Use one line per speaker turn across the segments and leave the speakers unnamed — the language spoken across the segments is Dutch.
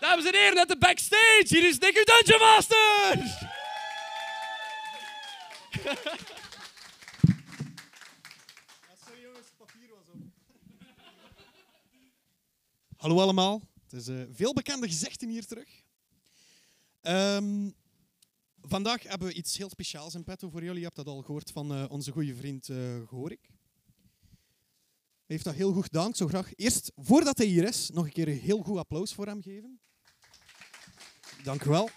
Dames en heren, net de backstage. Hier is Nick, uw Dungeon Master.
Hallo allemaal. Het is eh, veel bekende gezichten hier terug. Ehm, vandaag hebben we iets heel speciaals in petto voor jullie. Je hebt dat al gehoord van eh, onze goede vriend eh Gorik. Hij heeft dat heel goed gedaan. Ik zou graag eerst, voordat hij hier is, nog een keer een heel goed applaus voor hem geven. Dank u wel.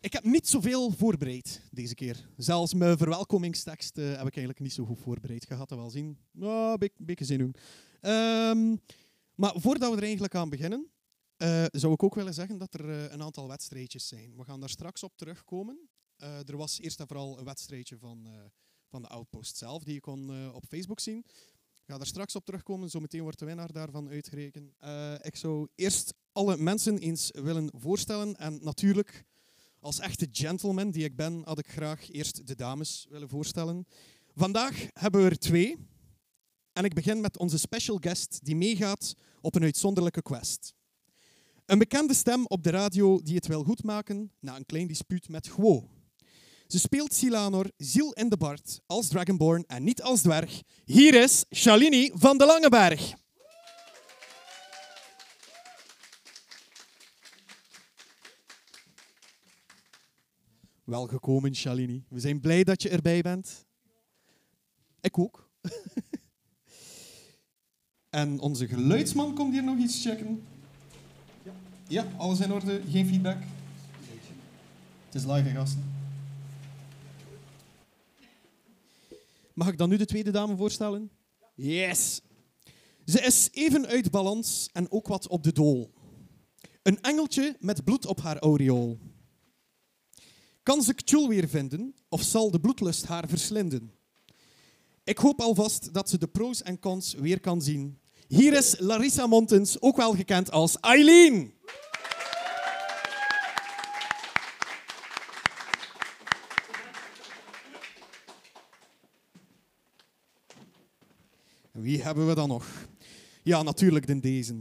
Ik heb niet zoveel voorbereid deze keer. Zelfs mijn verwelkomingstekst eh, heb ik eigenlijk niet zo goed voorbereid. Je gaat dat wel zien. Nou, een beetje- een beetje zin doen. Ehm, maar voordat we er eigenlijk aan beginnen, eh, zou ik ook willen zeggen dat er eh, een aantal wedstrijdjes zijn. We gaan daar straks op terugkomen. Eh, er was eerst en vooral een wedstrijdje van, eh, van de Outpost zelf, die je kon eh, op Facebook zien. Ik ga daar straks op terugkomen. Zometeen wordt de winnaar daarvan uitgerekend. Eh, ik zou eerst alle mensen eens willen voorstellen. En natuurlijk als echte gentleman die ik ben, had ik graag eerst de dames willen voorstellen. Vandaag hebben we er twee. En ik begin met onze special guest die meegaat op een uitzonderlijke quest. Een bekende stem op de radio die het wil goedmaken na een klein dispuut met Guo. Ze speelt Silanor, ziel in de Bart, als Dragonborn en niet als dwerg. Hier is Shalini van de Langeberg. Welgekomen, Shalini. We zijn blij dat je erbij bent. Ik ook. en onze geluidsman komt hier nog iets checken. Ja, alles in orde. Geen feedback. Het is live, hè, gasten. Mag ik dan nu de tweede dame voorstellen? Yes. Ze is even uit balans en ook wat op de dool. Een engeltje met bloed op haar aureool. Kan ze Cthul weer vinden of zal de bloedlust haar verslinden? Ik hoop alvast dat ze de pro's en cons weer kan zien. Hier is Larissa Montens, ook wel gekend als Eileen. Wie hebben we dan nog? Ja, natuurlijk den deze.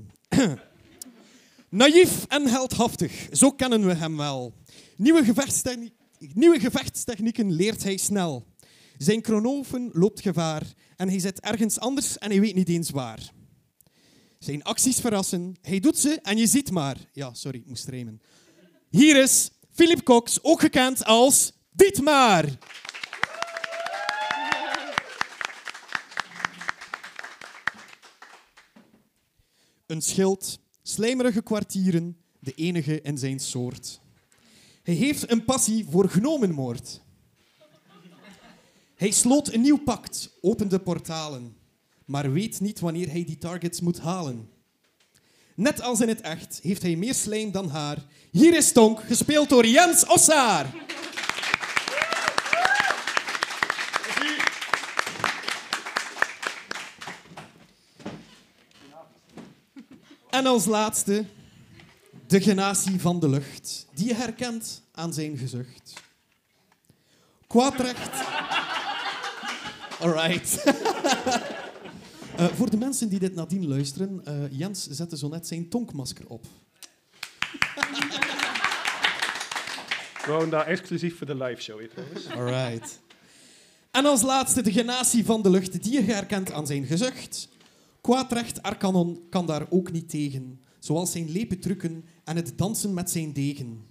Naïef en heldhaftig, zo kennen we hem wel. Nieuwe, gevechtstechni- nieuwe gevechtstechnieken leert hij snel. Zijn chronoven loopt gevaar en hij zit ergens anders en hij weet niet eens waar. Zijn acties verrassen, hij doet ze en je ziet maar. Ja, sorry, ik moest rijmen. Hier is Philip Cox, ook gekend als Dietmar. Een schild, slijmerige kwartieren, de enige in zijn soort. Hij heeft een passie voor gnomenmoord. Hij sloot een nieuw pact, opende portalen, maar weet niet wanneer hij die targets moet halen. Net als in het echt heeft hij meer slijm dan haar. Hier is Tonk, gespeeld door Jens Ossaar. En als laatste, de genatie van de lucht, die je herkent aan zijn gezucht. Kwaadrecht. Alright. Eh, voor de mensen die dit nadien luisteren, eh, Jens zette zo net zijn tonkmasker op.
We houden daar exclusief voor de live show in trouwens.
Alright. En als laatste de genatie van de lucht, die je herkent aan zijn gezucht. Kwaadrecht Arcanon kan daar ook niet tegen, zoals zijn lepentrukken en het dansen met zijn degen.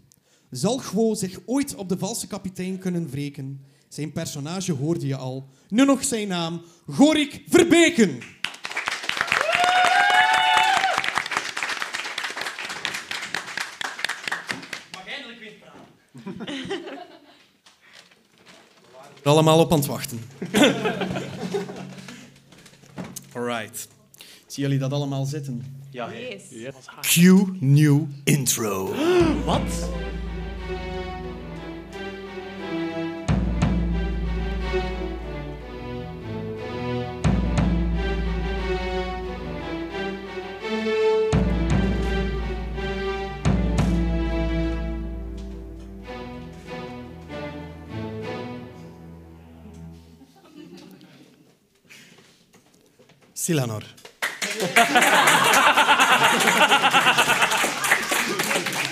Zal Gwo zich ooit op de valse kapitein kunnen wreken? Zijn personage hoorde je al. Nu nog zijn naam, Gorik Verbeken. er allemaal op aan het wachten. Alright. Zien jullie dat allemaal zitten?
Ja,
Yes.
Q New Intro.
Wat?
Silanor.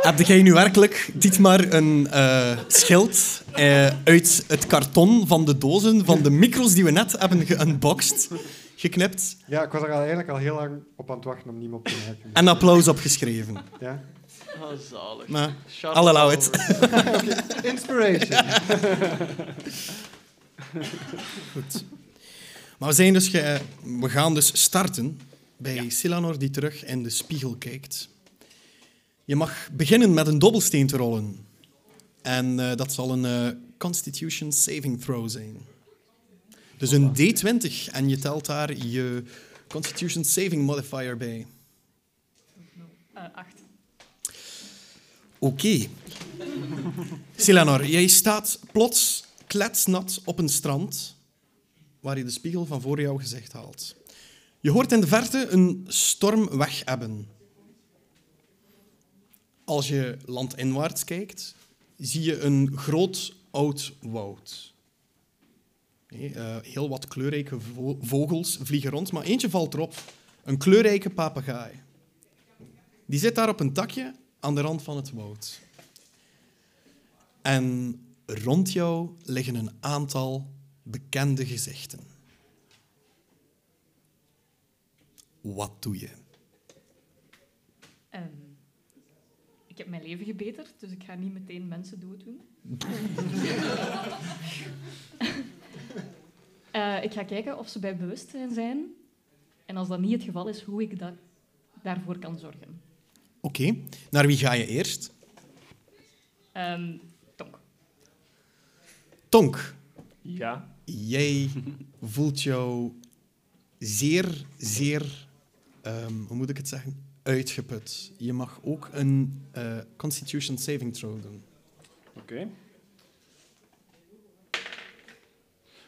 Heb jij nu werkelijk, dit maar een eh, schild eh, uit het karton van de dozen van de micro's die we net hebben geunboxed, geknipt
Ja, ik was er al eigenlijk al heel lang op aan het wachten om niemand te merken.
en applaus opgeschreven?
Ja?
Oh, zalig.
Maar,
Shout
I'll allow
out.
it.
Inspiration.
Maar we, zijn dus ge- we gaan dus starten bij Silanor die terug in de spiegel kijkt. Je mag beginnen met een dobbelsteen te rollen. En eh, dat zal een eh, Constitution Saving Throw zijn. Dus een D20 en je telt daar je Constitution Saving Modifier bij.
Eh, acht.
Oké. Silanor, jij staat plots kletsnat op een strand waar je de spiegel van voor jouw gezicht haalt. Je hoort in de verte een storm weg ebben. Als je landinwaarts kijkt, zie je een groot oud woud. Nee, eh, heel wat kleurrijke vo- vogels vliegen rond, maar eentje valt erop. Een kleurrijke papegaai. Die zit daar op een takje aan de rand van het woud. En rond jou liggen een aantal bekende gezichten. Wat doe je?
Ehm, ik heb mijn leven gebeterd, dus ik ga niet meteen mensen dooddoen. Eh ik ga kijken of ze bij bewustzijn zijn. En als dat niet het geval is, hoe ik dat daarvoor kan zorgen.
Oké, naar wie ga je eerst?
Ehm tonk.
Tonk,
Ja.
jij voelt jou zeer, zeer, ehm, hoe moet ik het zeggen, uitgeput. Je mag ook een eh, Constitution Saving Throw doen.
Oké.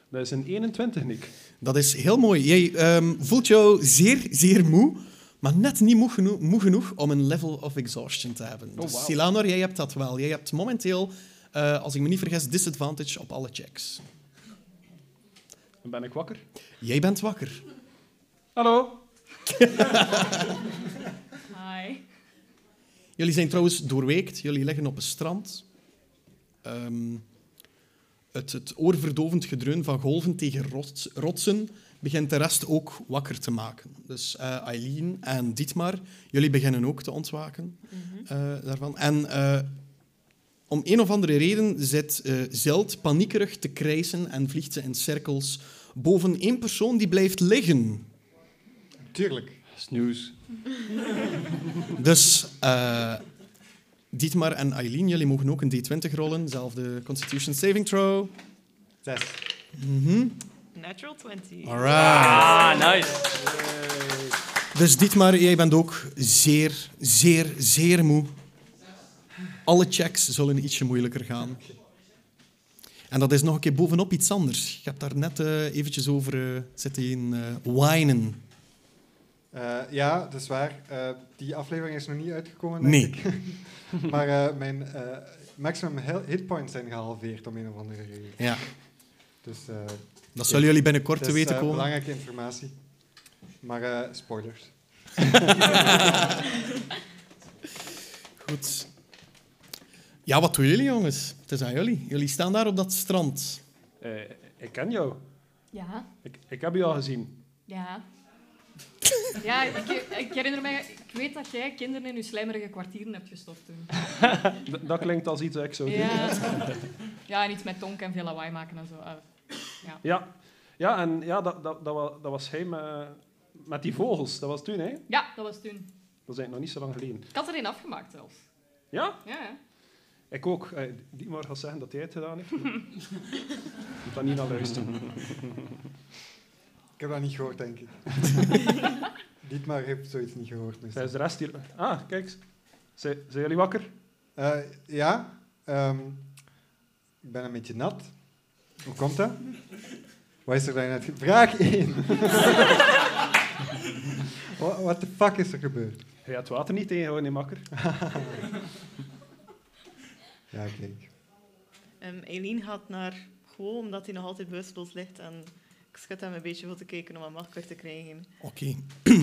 Dat is een 21, Nick.
Dat is heel mooi. Jij ehm, voelt jou zeer, zeer moe, maar net niet moe genoeg, moe genoeg om een level of exhaustion te hebben. Dus
wauw.
Silanor, jij hebt dat wel. Jij hebt momenteel, eh, als ik me niet vergis, disadvantage op alle checks.
Dan ben ik wakker.
Jij bent wakker.
Hallo.
Hi.
Jullie zijn trouwens doorweekt. Jullie liggen op een strand. Ehm, het, het oorverdovend gedreun van golven tegen rots- rotsen begint de rest ook wakker te maken. Dus eh, Eileen en Dietmar, jullie beginnen ook te ontwaken eh, daarvan. En eh, om een of andere reden zit eh Zeld paniekerig te krijsen en vliegt ze in cirkels boven één persoon die blijft liggen.
Tuurlijk.
Snoes.
Dus eh, Dietmar en Eileen, jullie mogen ook een D20 rollen. Zelfde Constitution Saving Throw.
Zes.
Natural 20.
Alright.
Ah, nice.
Dus Dietmar, jij bent ook zeer, zeer, zeer moe. Alle checks zullen ietsje moeilijker gaan. En dat is nog een keer bovenop iets anders. Ik heb daar net eh, eventjes over eh, zitten in, eh whinen.
Eh, ja, dat is waar. Eh, die aflevering is nog niet uitgekomen, denk
Nee.
ik. maar eh, mijn eh, maximum hel- hitpoints zijn gehalveerd om een of andere reden.
Ja,
Dus eh
dat zullen jullie
dat
binnenkort te
is
weten
eh,
komen.
belangrijke informatie. Maar eh, spoilers.
Goed. Ja, wat doen jullie, jongens? Het is aan jullie. Jullie staan daar op dat strand.
Eh, ik ken jou.
Ja,
Ik, ik heb je al gezien.
ja. Ja, ik, ik herinner mij, ik weet dat jij kinderen in je slijmerige kwartieren hebt gestopt toen.
D- dat klinkt als iets dat ik zou doen.
Ja. ja, en iets met tonk en veel lawaai maken en zo. Ah,
Ja, ja en ja, dat, dat, dat, was, dat was hij met, met die vogels. Dat was toen, hè?
Ja, dat was toen.
Dat is eigenlijk nog niet zo lang geleden.
Ik had er een afgemaakt zelfs.
Ja,
Ja, ja.
ik ook. Eh, die maar gaat zeggen dat hij het gedaan heeft. maar- Ik moet daar niet naar luisteren.
Ik heb dat niet gehoord, denk ik. Dietmar heeft zoiets niet gehoord. Dus.
Zij is de rest hier. Ah, kijk. Zijn, zijn jullie wakker?
Eh, ja, ehm, ik ben een beetje nat. Hoe komt dat? Wat is er daarnet? ge- Vraag 1. Wat de fuck is er gebeurd?
Hij had het water niet tegenhouden, hè, makker.
Ja, oké.
Ehm Eileen gaat naar Gewoon omdat hij nog altijd bewusteloos ligt. En ik schud hem een beetje voor te kijken om hem wakker te krijgen.
Oké.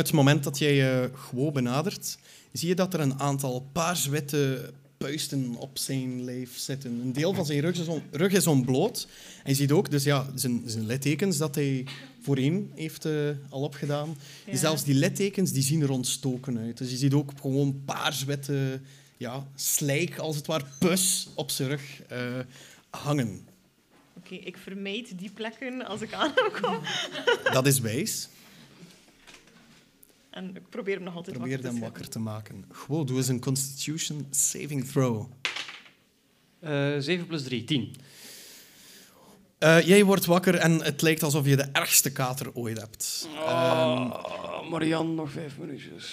Het moment dat jij eh Guo benadert, zie je dat er een aantal paarswitte puisten op zijn lijf zitten. Een deel van zijn rug is, on- rug is ontbloot. En je ziet ook dus ja, zijn, zijn littekens dat hij voorheen heeft eh, al opgedaan.
Ja.
Zelfs die littekens die zien er ontstoken uit. Dus je ziet ook gewoon paarswitte ja, slijk, als het ware, pus op zijn rug eh, hangen.
Oké, ik vermijd die plekken als ik aan hem kom.
Dat is wijs.
En ik probeer hem nog altijd
Probeer
wakker
hem
te
wakker te maken. Gewoon, doe eens een constitution saving throw.
7 Eh, plus 3, 10.
Eh, jij wordt wakker en het lijkt alsof je de ergste kater ooit hebt. Ehm,
Oh, Marianne, nog 5 minuutjes.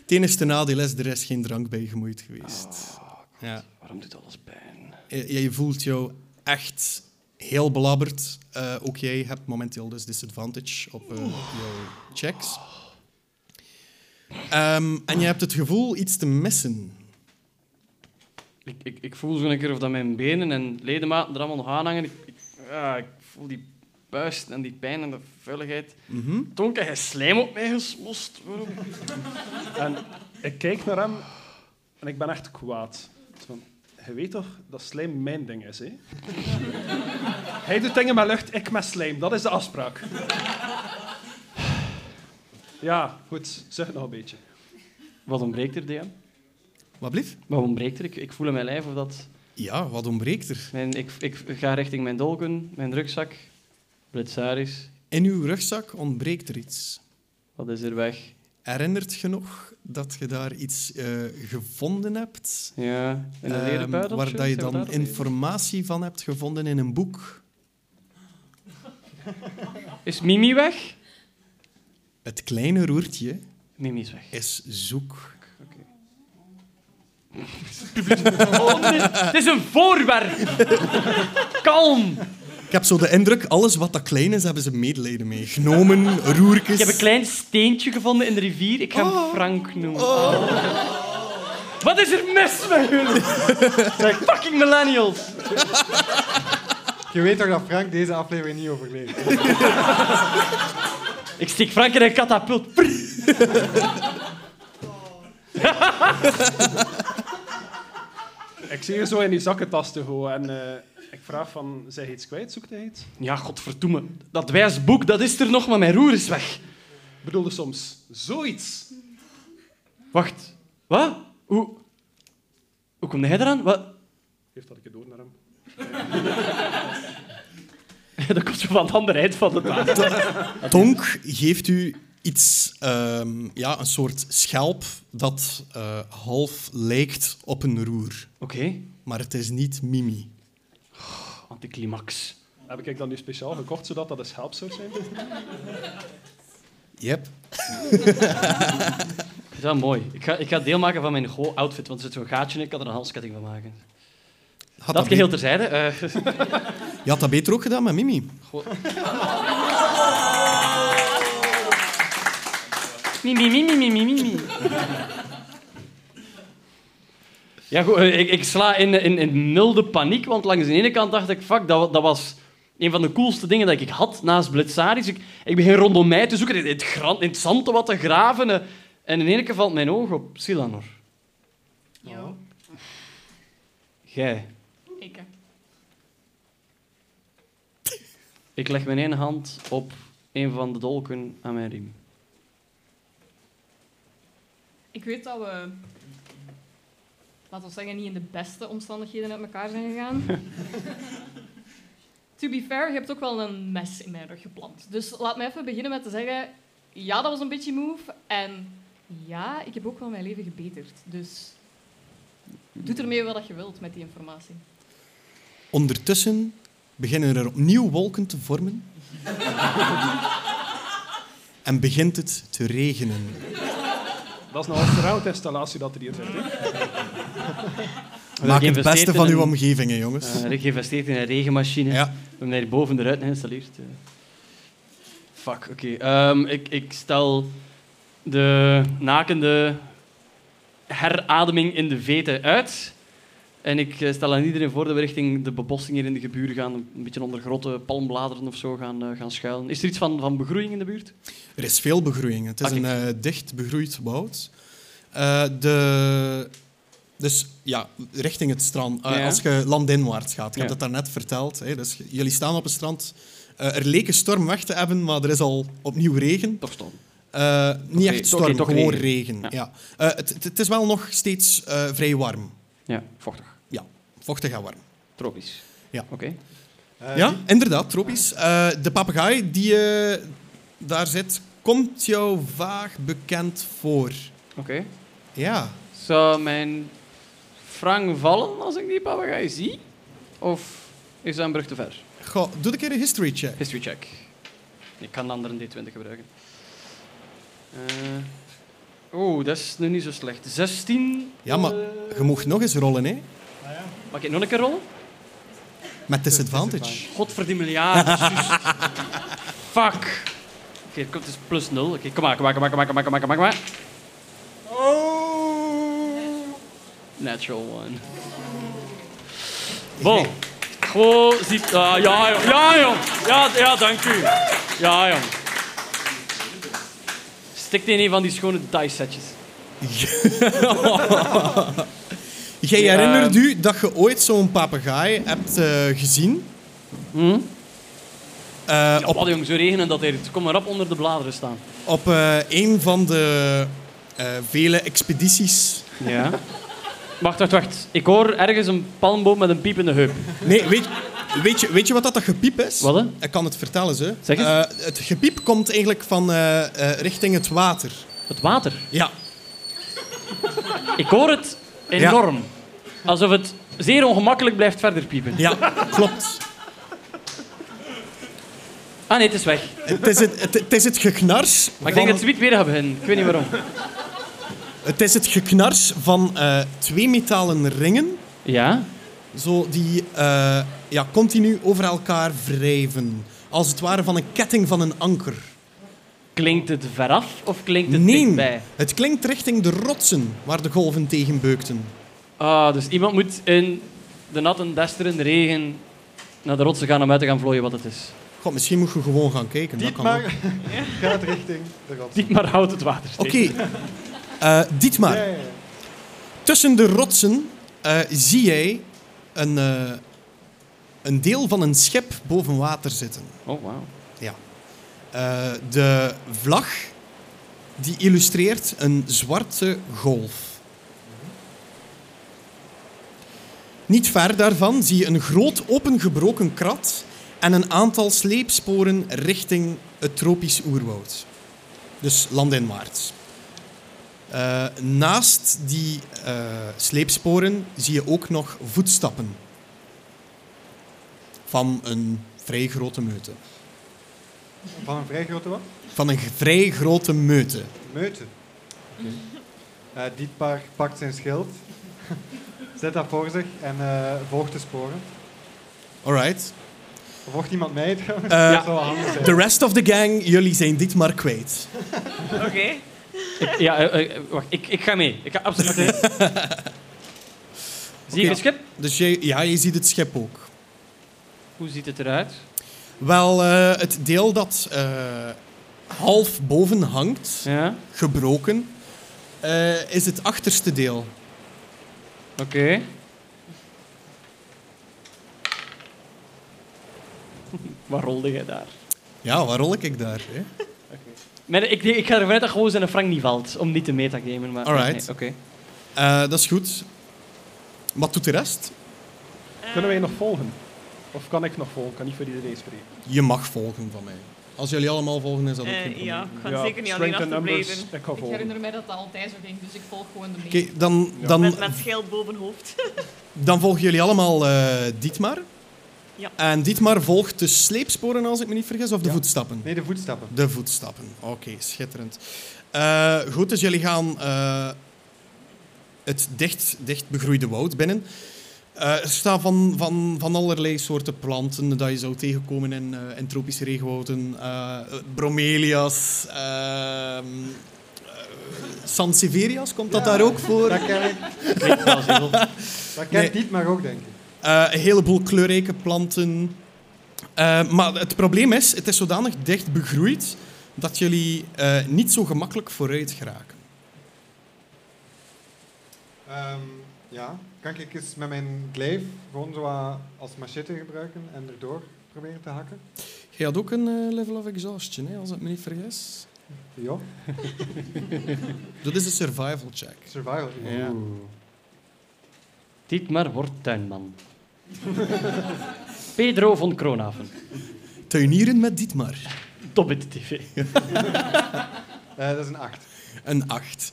het enige nadeel is, er is geen drank bij gemoeid geweest. ja.
Waarom doet alles pijn?
Eh, Jij voelt jou echt heel belabberd. Eh, ook jij hebt momenteel dus disadvantage op eh, jouw checks. Ehm, en je hebt het gevoel iets te missen.
Ik, ik, ik voel zo'n keer of dat mijn benen en ledematen er allemaal nog aan hangen. Ik, ik, ja, ik voel die puist en die pijn en de vuiligheid.
Mhm.
Tonka, hij slijm op mij gesmost. Waarom?
En ik kijk naar hem en ik ben echt kwaad. Het is Van, je weet toch dat slijm mijn ding is, hè? Hij doet dingen met lucht, ik met slijm. Dat is de afspraak. Ja, goed. Zeg nog een beetje.
Wat ontbreekt er, DM?
Wat blieft?
Wat ontbreekt er? Ik, ik voel in mijn lijf of dat...
Ja, wat ontbreekt er?
Mijn, ik, ik ga richting mijn dolken, mijn rugzak, blitzaris.
In uw rugzak ontbreekt er iets.
Wat is er weg?
Herinnert je nog dat je daar iets eh, gevonden hebt?
Ja, in een
Ehm,
leren buidel of
Waar
zo?
dat je
Zijn we
dan
daar al bezig?
informatie van hebt gevonden in een boek.
Is Mimi weg?
Het kleine roertje
Mimi is weg.
is zoek.
Oh, dit, is- dit is een voorwerp. Kalm.
Ik heb zo de indruk, alles wat dat klein is, hebben ze medelijden mee. Genomen, roerkes.
Ik heb een klein steentje gevonden in de rivier. Ik ga hem Frank noemen. Wat is er mis met jullie? Zeg, fucking millennials.
Je weet toch dat Frank deze aflevering niet overleeft?
Ik steek Frank in een katapult. Prrr.
Ik zie je zo in die zakkentas te gooien en eh, ik vraag van, zeg je iets kwijt? Zoekt hij iets?
Ja, godverdomme. Dat wijs boek, dat is er nog, maar mijn roer is weg.
Ik bedoelde soms zoiets.
Wacht. Wat? Hoe... Hoe kom jij eraan? Wat?
Heeft dat ik het door naar hem?
Dat komt zo van het andere eind van de tafel.
Tonk geeft u iets, ehm, ja, een soort schelp dat eh, half lijkt op een roer.
Oké.
Maar het is niet Mimi.
Anticlimax.
Heb ik dan nu speciaal gekocht, zodat dat een help zou zijn?
Yep.
Ik vind Dat is mooi. Ik ga, ik ga deel maken van mijn go-outfit, want er zit zo'n gaatje in. Ik kan er een halsketting van maken.
Had
dat
dat
geheel
be-
terzijde. eh,
Je had dat beter ook gedaan met Mimi.
Mimi, mimi, mimi, mimi. Ja, goed, eh, ik, ik sla in, in, in milde paniek, want langs de ene kant dacht ik, fuck, dat, wa- dat was een van de coolste dingen dat ik had naast Blitzaris. Ik, ik begin rondom mij te zoeken, in het, gran, in het zand te wat te graven. eh, En in één keer valt mijn oog op Silanor.
Ja,
Jij.
eh,
ik.
Ik leg mijn ene hand op een van de dolken aan mijn riem.
Ik weet dat we, laten we zeggen, niet in de beste omstandigheden uit elkaar zijn gegaan. to be fair, je hebt ook wel een mes in mijn rug geplant. Dus laat me even beginnen met te zeggen, ja, dat was een beetje move. En ja, ik heb ook wel mijn leven gebeterd. Dus doe ermee wat je wilt met die informatie.
Ondertussen beginnen er opnieuw wolken te vormen. en begint het te regenen.
Dat is nou een verhoudinstallatie dat er hier zit. Hè?
Maak het
geïnvesteerd
beste
in
van uw
een-
omgeving, hè, jongens.
Eh, Rick geïnvesteerd in een regenmachine.
Ja.
We hebben daar boven de ruiten geïnstalleerd. eh. Fuck, oké. Ehm, ik, ik stel de nakende herademing in de veten uit. En ik eh, stel aan iedereen voor dat we richting de bebossing hier in de gebuur gaan. Een beetje onder grote palmbladeren of zo gaan, eh, gaan schuilen. Is er iets van, van begroeiing in de buurt?
Er is veel begroeiing. Het is
Ah,
een eh, dicht begroeid woud. Eh, de, dus ja, richting het strand. Eh,
Ja.
Als je landinwaarts gaat. Ik heb
Ja.
dat daarnet verteld. Hè. Dus jullie staan op het strand. Eh, er leek een storm weg te hebben, maar er is al opnieuw regen.
Toch stom.
Eh, niet
Toch re-
echt storm,
toch- toch
gewoon regen.
regen. Ja.
ja. Eh, het, het- het is wel nog steeds eh, vrij warm.
Ja, vochtig.
Ja, vochtig en warm.
Tropisch.
Ja.
Oké.
Eh,
Ja, inderdaad, tropisch. Eh, de papegaai die eh, daar zit, komt jou vaag bekend voor.
Oké.
Ja.
Zou mijn frang vallen als ik die papegaai zie? Of is dat een brug te ver?
Goh, doe een keer een history check.
History check. Ik kan de andere een D20 gebruiken. Eh, Oeh, dat is nu niet zo slecht. 16.
Ja, maar je mocht nog eens rollen, hè?
Mag ik nog een keer rollen?
Met disadvantage.
Godverdomme, ja. dat is juist. Fuck. Oké, komt het is plus 0. Oké, kom maar, kom maar, kom maar, kom maar, kom maar, kom maar, kom maar, kom maar. Oh. Natural one. Bon. Gewoon ziet... ah, ja, jong. Ja, jong. Ja, ja, dank u. Ja, jong. Stikt in een van die schone dice setjes.
Jij
Ja.
herinnert u dat je ooit zo'n papegaai hebt eh, gezien?
Hm?
Eh,
Ja,
op
wat jong, zo regenen dat hier. Het komt maar op onder de bladeren staan.
op eh, een van de eh, vele expedities.
Ja. Wacht, wacht, wacht. Ik hoor ergens een palmboom met een piepende heup.
Nee, weet, weet, je, weet je wat dat, dat gepiep is?
Wat, hè?
Ik kan het vertellen, ze.
Zeg eens.
Eh, het gepiep komt eigenlijk van eh, eh, richting het water.
Het water.
Ja.
Ik hoor het enorm. Alsof het zeer ongemakkelijk blijft verder piepen.
Ja, klopt.
Ah nee, het is weg.
Het is het, het, het is het geknars.
Maar ik
van-
denk dat ze niet weer gaan beginnen. Ik weet niet waarom.
Het is het geknars van eh, twee metalen ringen,
Ja?
zo die eh, ja, continu over elkaar wrijven. Als het ware van een ketting van een anker.
Klinkt het veraf of klinkt het dichtbij?
het klinkt richting de rotsen waar de golven tegen beukten.
Ah, dus iemand moet in de natte, desterende regen naar de rotsen gaan om uit te gaan vlooien wat het is.
God, misschien moet je gewoon gaan kijken. dat kan
Dietmar
ook.
gaat richting de rotsen.
Diep maar houdt het water
Oké,
steek.
Eh, Dietmar.
Ja, ja, ja.
Tussen de rotsen eh, zie jij een, eh, een deel van een schip boven water zitten.
Oh, wauw.
Eh, de vlag die illustreert een zwarte golf. Niet ver daarvan zie je een groot opengebroken krat en een aantal sleepsporen richting het tropisch oerwoud. Dus landinwaarts. Eh, naast die eh, sleepsporen zie je ook nog voetstappen van een vrij grote meute.
Van een vrij grote wat?
Van een vrij grote meute.
Meute. Eh, Dietmar pakt zijn schild, zet dat voor zich en eh, volgt de sporen.
Alright.
Volgt iemand mee trouwens?
Eh,
Dat zou wel handig zijn.
The rest of the gang, jullie zijn dit maar kwijt.
Oké.
Ik, ja, eh, eh, wacht. Ik, ik ga mee. Ik ga absoluut mee. Zie je
Oké.
het schip?
Dus jij, ja, je ziet het schip ook.
Hoe ziet het eruit?
Wel, eh, het deel dat eh, half boven hangt,
Ja,
gebroken, eh, is het achterste deel.
oké. Waar rolde jij daar?
Ja, waar rol ik daar? Hè?
Maar ik, ik ga ervan uit dat gewoon zijn frank niet valt, om niet te metagamen. Maar,
Alright.
nee, oké.
Eh, dat is goed. Wat doet de rest?
Kunnen wij nog volgen? Of kan ik nog volgen? Ik kan niet voor iedereen spreken.
Je mag volgen van mij. Als jullie allemaal volgen, is dat ook geen
Eh,
probleem.
ja, ik ga
Ja,
zeker niet alleen
strength and
achterblijven.
numbers, Ik ga
Ik
volgen.
herinner mij dat dat altijd zo ging, dus ik volg gewoon de
Oké,
mee.
dan,
Ja.
dan
Met, met schild boven hoofd.
Dan volgen jullie allemaal eh, Dietmar.
Ja.
En Dietmar volgt de sleepsporen, als ik me niet vergis, of de
Ja.
voetstappen?
Nee, de voetstappen.
De voetstappen. Oké, schitterend. Eh, goed, dus jullie gaan eh, het dicht, dicht begroeide woud binnen. Eh, er staan van, van, van allerlei soorten planten dat je zou tegenkomen in, eh, in tropische regenwouden. Eh, bromelia's, ehm, eh, San Severias, komt dat daar ook voor?
Dat ken ik. Dat
Nee.
kent niet, maar ook, denk ik.
Eh, een heleboel kleurrijke planten. Eh, maar het probleem is, het is zodanig dicht begroeid dat jullie eh, niet zo gemakkelijk vooruit geraken.
Ehm, ja. Kan ik eens met mijn gleef gewoon zo wat als machete gebruiken en erdoor proberen te hakken?
Jij had ook een eh, level of exhaustion, hè, als ik me niet vergis.
Ja.
Dat is een survival check.
Survival.
Ja.
Oeh.
Dietmar wordt tuinman. Pedro van Kroonhaven.
Tuinieren met Dietmar.
Dobbit TV.
Eh, dat is een 8.
Een acht.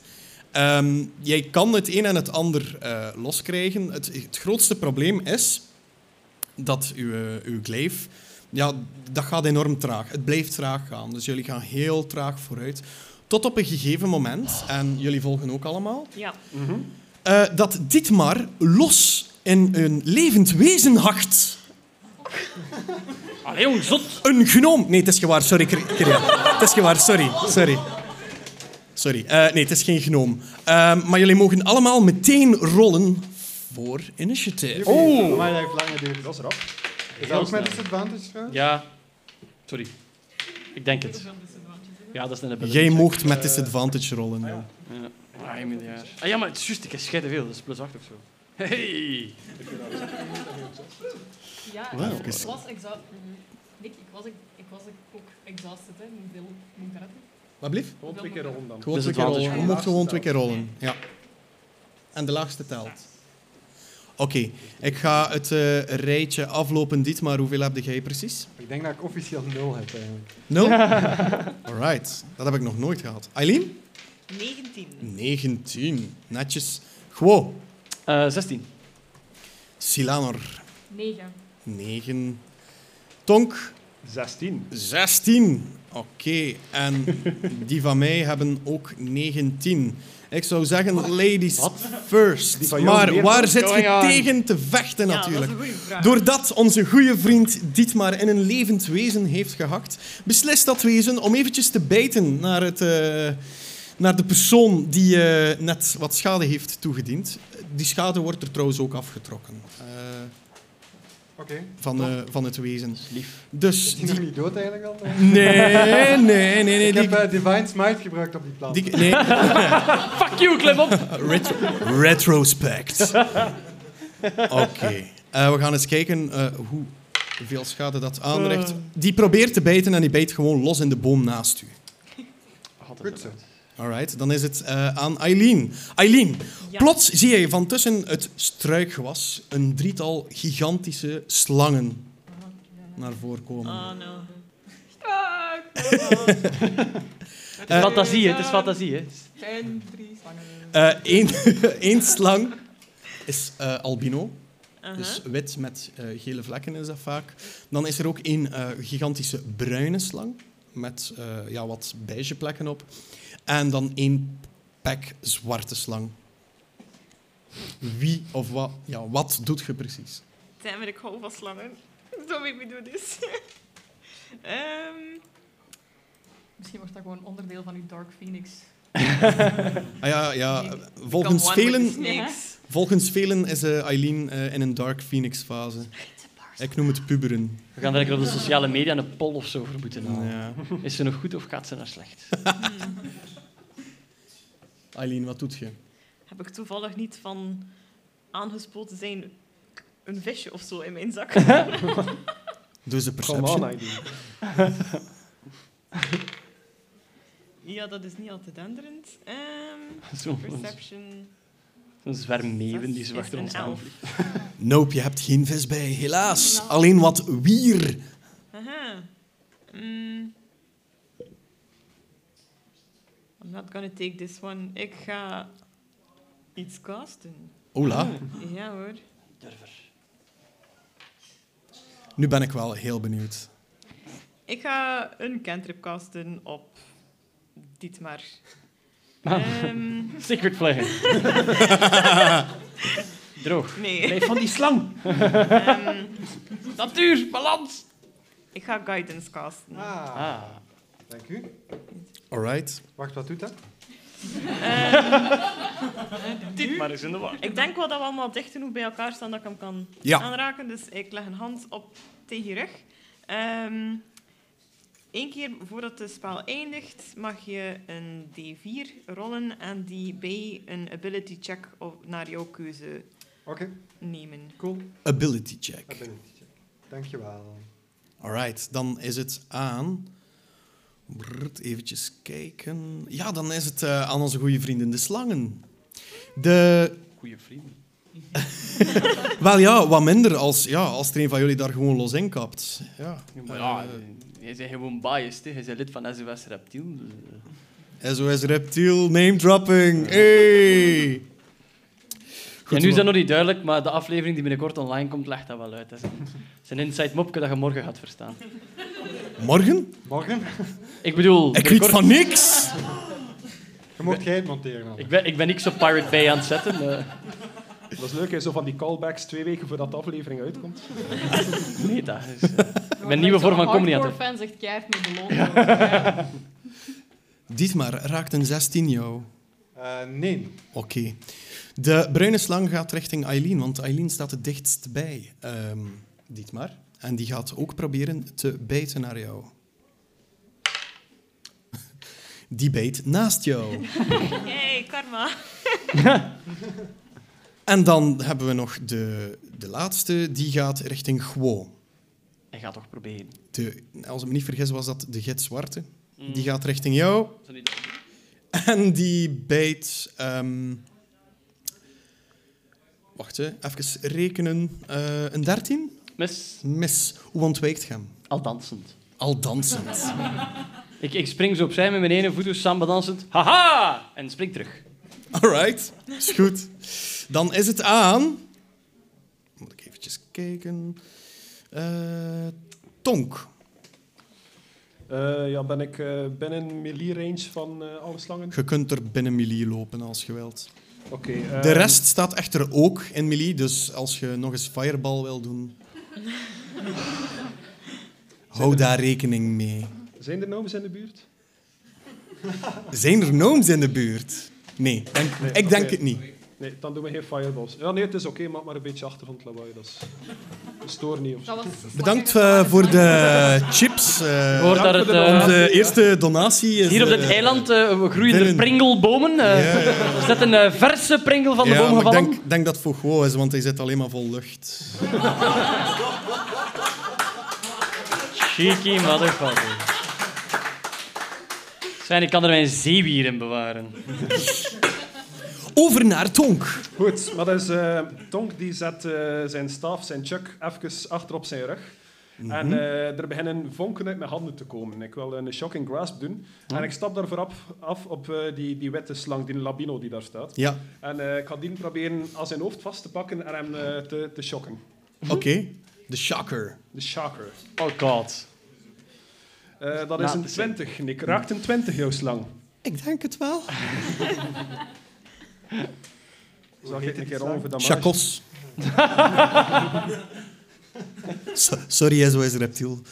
Ehm, jij kan het een en het ander eh, loskrijgen. Het, het grootste probleem is dat uw, eh, uw gleif... Ja, dat gaat enorm traag. Het blijft traag gaan. Dus jullie gaan heel traag vooruit. Tot op een gegeven moment, en jullie volgen ook allemaal,
Ja.
eh, dat Dietmar los in een levend wezen hakt.
Allee, jong, zot.
Een gnoom. Nee, het is gewaar. Sorry, Kir- Kirill. Het is gewaar. Sorry. Sorry. Sorry. Eh, nee, het is geen gnoom. Ehm, maar jullie mogen allemaal meteen rollen voor initiative.
Oh! Maar dat heeft lang geduurd.
Dat is rap.
Is dat ook
snel.
met disadvantage trouwens?
Ja. Sorry. Ik denk het. Ja, dat is net een ability
Jij
check.
mocht met disadvantage rollen. ja.
Ja. Ah, je moet daar. Ah, ja, maar het is juist. Ik heb scheiden veel. Dat is plus 8 of zo. Hey.
Ja,
Wauw.
ik was exhausted. Nick, ik was, ik was ook exhausted. Hè. Moet ik- moet ik dat doen?
Wat blieft?
Gewoon twee keer rond dan.
Gewoon
Dus
twee keer
advantage.
rollen. Je mocht gewoon twee keer rollen. Ja. En de laagste telt. Oké, ik ga het eh, rijtje aflopen, Dietmar. Hoeveel heb jij precies?
Ik denk dat ik officieel 0 heb eigenlijk.
Nul? Alright, dat heb ik nog nooit gehad. Eileen?
19.
19. Netjes. Guo.
Eh, 16.
Silanor.
Negen.
9. Tonk.
16.
16. Oké. En die van mij hebben ook 19. Ik zou zeggen, ladies
Die
first.
van jou
Maar
meer Oh
waar
dan?
zit je
Going on.
tegen te vechten natuurlijk?
Ja, dat is een goede vraag.
Doordat onze goede vriend Dietmar in een levend wezen heeft gehakt, beslist dat wezen om eventjes te bijten naar, het, eh, naar de persoon die eh, net wat schade heeft toegediend. Die schade wordt er trouwens ook afgetrokken eh,
Oké.
van, eh, van het wezen.
Lief.
Dus
Is die nog
die...
niet dood eigenlijk al?
Nee, nee, nee. nee
ik
die,
heb eh, Divine Smite gebruikt op die plant.
die, nee.
Fuck you, klem op.
Retro- retrospect. Oké. Eh, we gaan eens kijken eh, hoe- hoeveel schade dat aanricht.
Eh.
Die probeert te bijten en die bijt gewoon los in de boom naast u.
Goed zo.
Alright, dan is het eh, aan Eileen. Eileen,
Ja.
plots zie je van tussen het struikgewas een drietal gigantische slangen naar voren komen.
Oh no.
Het is fantasie, hè. Het is fantasie, hè.
Zijn drie slangen.
Eén Eh, één slang is eh, albino.
Uh-huh.
Dus wit met eh, gele vlekken is dat vaak. Dan is er ook één eh, gigantische bruine slang met eh, ja, wat beige plekken op. En dan één pek zwarte slang. Wie of wat? Ja, wat doet je precies?
Damn it, ik hou van slangen. Don't make me do this. Ehm,
Misschien wordt dat gewoon onderdeel van uw Dark Phoenix.
Ah, ja,
Ik
ja,
kan come
volgens,
one with
velen,
the Snakes.
volgens velen is eh, Eileen eh, in een Dark Phoenix fase. Ik noem het puberen.
We gaan direct op de sociale media een poll of zo voor moeten halen.
Ja.
Is ze nog goed of gaat ze naar slecht?
Eileen, wat doet je?
Heb ik toevallig niet van aangespoten zijn een visje of zo in mijn zak.
Doe ze
Come on,
perception.
Aileen.
ja, dat is niet al te denderend. Ehm,
Zo'n
perception.
zo'n zwerm meeuwen die zo
is
achter
een
ons
elf.
aan.
Nope, je hebt geen vis bij, helaas. Alleen wat wier.
Aha. Mm. I'm not gonna take this one. Ik ga iets casten.
Ola.
Ja hoor.
Nu ben ik wel heel benieuwd.
Ik ga een cantrip casten op Dietmar. Ehm,
Secret flag. Droog.
nee.
Blijf van die slang.
Ehm,
Natuur, balans.
ik ga guidance casten.
Ah,
Ah.
dank u.
Alright.
Wacht, wat doet dat?
Dit maar eens in de war.
Ehm, Ik denk wel dat we allemaal dicht genoeg bij elkaar staan dat ik hem kan
Ja.
aanraken. Dus ik leg een hand op tegen je rug. Eén keer voordat het spel eindigt, mag je een D4 rollen en die bij een ability check op- naar jouw keuze
Oké,
nemen.
cool.
Ability check.
Ability check. Dankjewel.
Alright, dan is het aan. Brrrt, eventjes kijken. Ja, dan is het eh, aan onze goede vrienden de slangen. De.
Goeie vrienden.
Wel ja, wat minder als, ja, als er een van jullie daar gewoon los in kapt. Ja.
Maar ja, jij bent gewoon biased, hè. jij bent lid van SOS Reptiel. dus, eh.
SOS Reptiel, name dropping. Hey!
Ja, nu is dat nog niet duidelijk, maar de aflevering die binnenkort online komt, legt dat wel uit. Dat is een- dat is een inside mopje dat je morgen gaat verstaan.
Morgen?
Morgen?
Ik bedoel,
Ik weet
binnenkort-
van niks!
Je mocht geen monteren. Anne.
Ik ben, ik ben niks op Pirate Bay aan het zetten. eh.
Dat is leuk, hè? zo van die callbacks twee weken voordat de aflevering uitkomt.
nee, dat is... eh, Mijn nieuwe vorm van comedy aan het-
fan zegt keihard met beloond.
Dietmar raakt een 16 jou.
Eh, nee.
Oké. De bruine slang gaat richting Eileen, want Eileen staat het dichtst bij. Ehm Dietmar. En die gaat ook proberen te bijten naar jou. Die bijt naast jou.
Hey, karma.
En dan hebben we nog de, de laatste, die gaat richting Gwo.
Hij gaat toch proberen.
De, als ik me niet vergis, was dat de gitzwarte. Die gaat richting jou.
Zal niet Mm. dat-
En die bijt. ehm, wacht, hè, even rekenen. Eh, een 13?
Mis,
Mis. Hoe ontwijkt je hem?
al dansend.
Al dansend.
Ik, ik spring zo opzij met mijn ene voet, dus samba dansend. Haha! En spring terug.
Alright, is goed. Dan is het aan. Moet ik eventjes kijken. Eh, tonk.
Eh, ja, ben ik eh, binnen melee range van eh, alle slangen?
Je kunt er binnen melee lopen als je wilt.
Oké. eh,
De rest staat echter ook in melee, dus als je nog eens fireball wil doen. Hou daar rekening mee.
Zijn er gnomes in de buurt?
Zijn er gnomes in de buurt? Nee, denk-
Nee,
ik denk
oké.
het niet.
Nee, dan doen we geen fireballs. Ja, nee, het is oké, maak maar een beetje achtergrond lawaai. Dat is... dat stoort niet. Of... zo.
Bedankt eh, voor de chips. eh,
Hoor dat het... eh,
onze eerste donatie is...
hier op dit
eh,
eiland eh, groeien er
Dylan.
pringelbomen. eh. Is dat een eh, verse pringel van de
ja,
boom
maar ik
gevallen?
denk, denk dat het voor Gwo is, want hij zit alleen maar vol lucht.
Cheeky motherfucker. Zijn, ik kan er mijn zeewier in bewaren.
Over naar Tonk.
Goed, maar dat is... eh, Tonk die zet eh, zijn staaf, zijn chuck, even achter op zijn rug. En
Mhm.
eh, er beginnen vonken uit mijn handen te komen. Ik wil een shocking grasp doen. En ik stap daar vooraf af op eh, die, die witte slang, die labino die daar staat.
Ja,
En eh, ik ga die proberen aan zijn hoofd vast te pakken en hem eh, te, te shocken.
oké. De shocker.
De shocker.
Oh god.
Eh, dat is
Laat
een
het zien.
20, Nick. Raakt een 20 jouw slang.
Ik denk het wel.
Zag ik een keer over dat
Chacos. So- sorry, SOS Reptiel.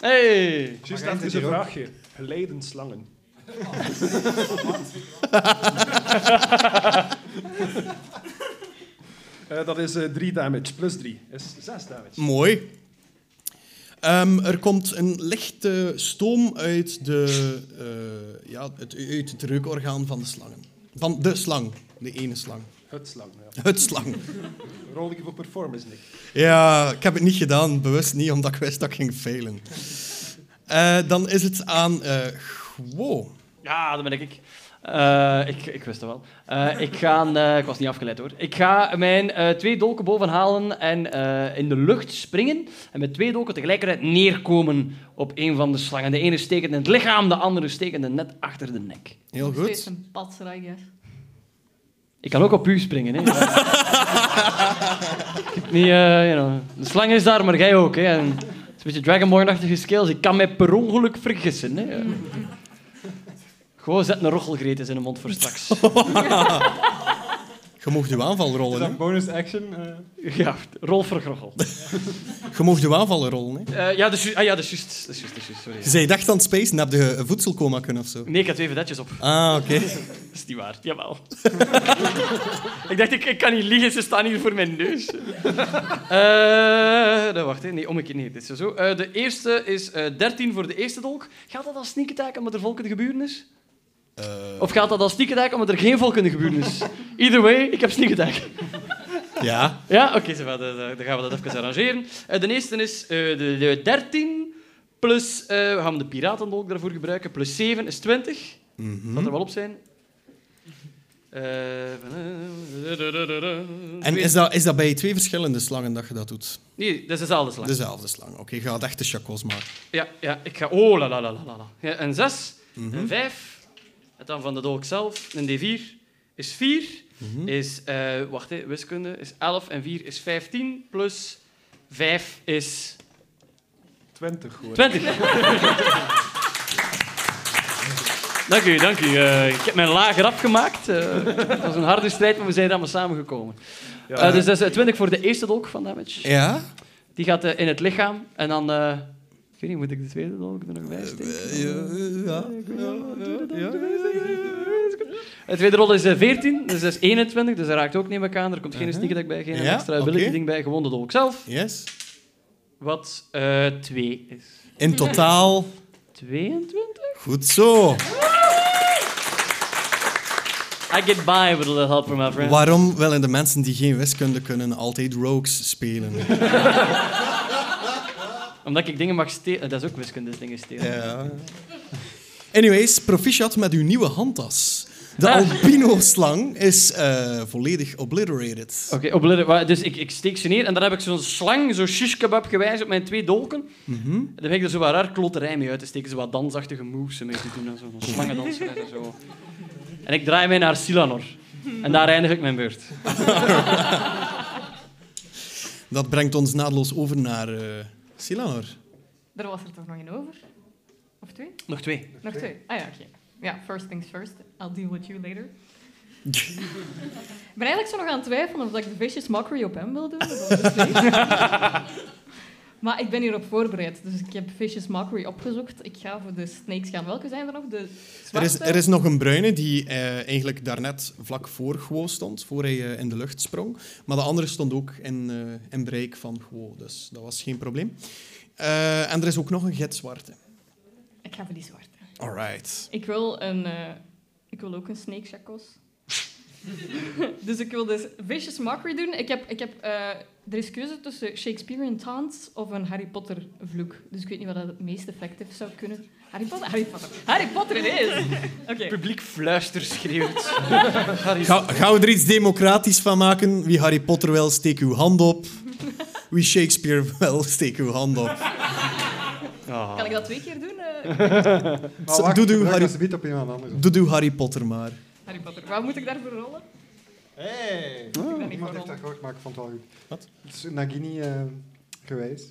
Hey!
Juist dat is een vraagje. Geleiden slangen. Eh, dat is 3 damage, plus 3. Is 6 damage.
Mooi. Ehm, er komt een lichte stoom uit, de, eh, ja, het, uit het reukorgaan van de slangen. Van de slang. De ene slang.
Het slang, ja.
Het slang.
Rol ik voor performance, Nick.
Ja, ik heb het niet gedaan, bewust niet, omdat ik wist dat ik ging failen. Eh, dan is het aan... eh wow.
Ja, dat ben ik. ik. Eh, ik, ik wist dat wel. Eh, ik, ga, eh, ik was niet afgeleid hoor. Ik ga mijn eh, twee dolken boven halen en eh, in de lucht springen. En met twee dolken tegelijkertijd neerkomen op een van de slangen. De ene stekend in het lichaam, de andere stekende net achter de nek.
Heel
Nog steeds
goed.
een patserij, hè.
Ik kan ook op u springen. Hè. niet, eh, you know. De slang is daar, maar jij ook. Hè. En het is een beetje Dragonborn-achtige skills. Ik kan mij per ongeluk vergissen. Hè. Gewoon zet een rochelgreet eens in de mond voor straks.
Je mocht uw aanval
Is
rollen.
dat
Hè?
bonus action? eh?
Ja, rol vergrochel.
Je mocht uw aanval rollen. Hè?
Eh ja, dat is ju- ah, ja, dat is juist. Dat is juist, dat is juist, sorry.
Zij dacht aan space en heb je een voedselcoma kunnen of zo.
Nee, ik had twee vedetjes op.
Ah, oké.
Dat is niet waar. Jawel. ik dacht, ik, ik kan niet liegen, ze staan hier voor mijn neus. Eh nee, wacht, hè. nee, om een keer. Nee, dit is zo. Eh, de eerste is eh 13 voor de eerste dolk. Gaat dat als sneak attack omdat er volk in de geburen is?
Eh,
Of gaat dat als sneak attack omdat er geen volk in de geburen is? Either way, ik heb sneak attack.
Ja.
Ja, oké, zo va, dan, dan gaan we dat even arrangeren. Eh, de eerste is eh, de, de 13, plus, eh, we gaan de piratendolk daarvoor gebruiken, plus 7 is 20.
Mhm.
Dat er wel op zijn. Eh,
En is dat, is dat bij twee verschillende slangen dat je dat doet?
Nee, dat is dezelfde slag.
Dezelfde slang. Oké, je gaat echt de chacos maken.
Ja, ja, ik ga... Oh, la la la la la, la. Ja, een 6,
Mhm.
een 5, en dan van de dolk zelf, een D4 is 4,
Mhm.
is... eh, wacht, hè, wiskunde is 11 en 4 is 15, plus 5 is...
20 hoor.
20. dank u, dank u. Eh, ik heb mijn laag rap gemaakt. Eh, het was een harde strijd, maar we zijn allemaal samengekomen. Eh, dus dat is eh, 20 voor de eerste dolk van damage.
Ja?
Die gaat eh, in het lichaam. En dan... eh, ik weet niet, moet ik de tweede dolk er nog bij steken?
Eh, Ja.
De tweede rol is eh, 14, dus dat is 21. Dus daar raakt ook neem ik aan. Er komt geen sneak attack bij, geen
Ja,
extra ability
oké.
ding bij. Gewoon de dolk zelf.
Yes.
Wat 2 is.
In totaal...
22?
Goed zo.
I get by with a little help from my friend.
Waarom willen de mensen die geen wiskunde kunnen altijd rogues spelen?
Omdat ik dingen mag stelen. Dat is ook wiskunde, dingen stelen.
Ja. Anyways, proficiat met uw nieuwe handtas. De albino-slang is eh, volledig obliterated.
Oké, obliter- wa- dus ik, ik steek ze neer en dan heb ik zo'n slang, zo'n shish kebab gewijs op mijn twee dolken. En dan ben ik er zo wat raar klotterij mee uit te steken, zo wat dansachtige moves mee te doen en zo. Zo'n slangendanseres en zo. En ik draai mij naar Silanor. En daar eindig ik mijn beurt.
Dat brengt ons naadloos over naar eh Silanor.
Er was er toch nog een over? Of twee?
Nog twee.
Nog twee. Ah ja, oké. Ja, first things first. I'll deal with you later. ik ben eigenlijk zo nog aan het twijfelen of ik de vicious mockery op hem wil doen. of op de snake. maar ik ben hierop voorbereid, dus ik heb vicious mockery opgezocht. Ik ga voor de snakes gaan. Welke zijn er nog? De
Er is,
zwarte?
er is nog een bruine die eh, eigenlijk daarnet vlak voor Guo stond, voor hij eh, in de lucht sprong. Maar de andere stond ook in, eh, in bereik van Guo, dus dat was geen probleem. Eh, en er is ook nog een gitzwarte.
Ik ga voor die zwarte.
Alright.
Ik wil, een, eh, ik wil ook een snake chakos. dus ik wil dus Vicious Mockery doen. Ik heb, ik heb, eh, er is keuze tussen Shakespearean Taunts of een Harry Potter vloek. Dus ik weet niet wat dat het meest effectief zou kunnen. Harry Potter? Harry Potter. Harry Potter het is! Oké.
Het publiek fluister schreeuwt.
Ga, gaan we er iets democratisch van maken? Wie Harry Potter wil, steek uw hand op. Wie Shakespeare wil, steek uw hand op.
Kan ik dat twee keer doen? eh?
Maar wacht,
doe, doe,
druk
Harry,
alsjeblieft op iemand anders.
doe, doe Harry Potter maar.
Harry Potter. Waar moet ik daarvoor rollen?
Hey!
ik ben
Iemand
niet
heeft
voor
dat gehoord, maar ik vond het wel goed.
Ah. Wat?
Het is Nagini eh, geweest.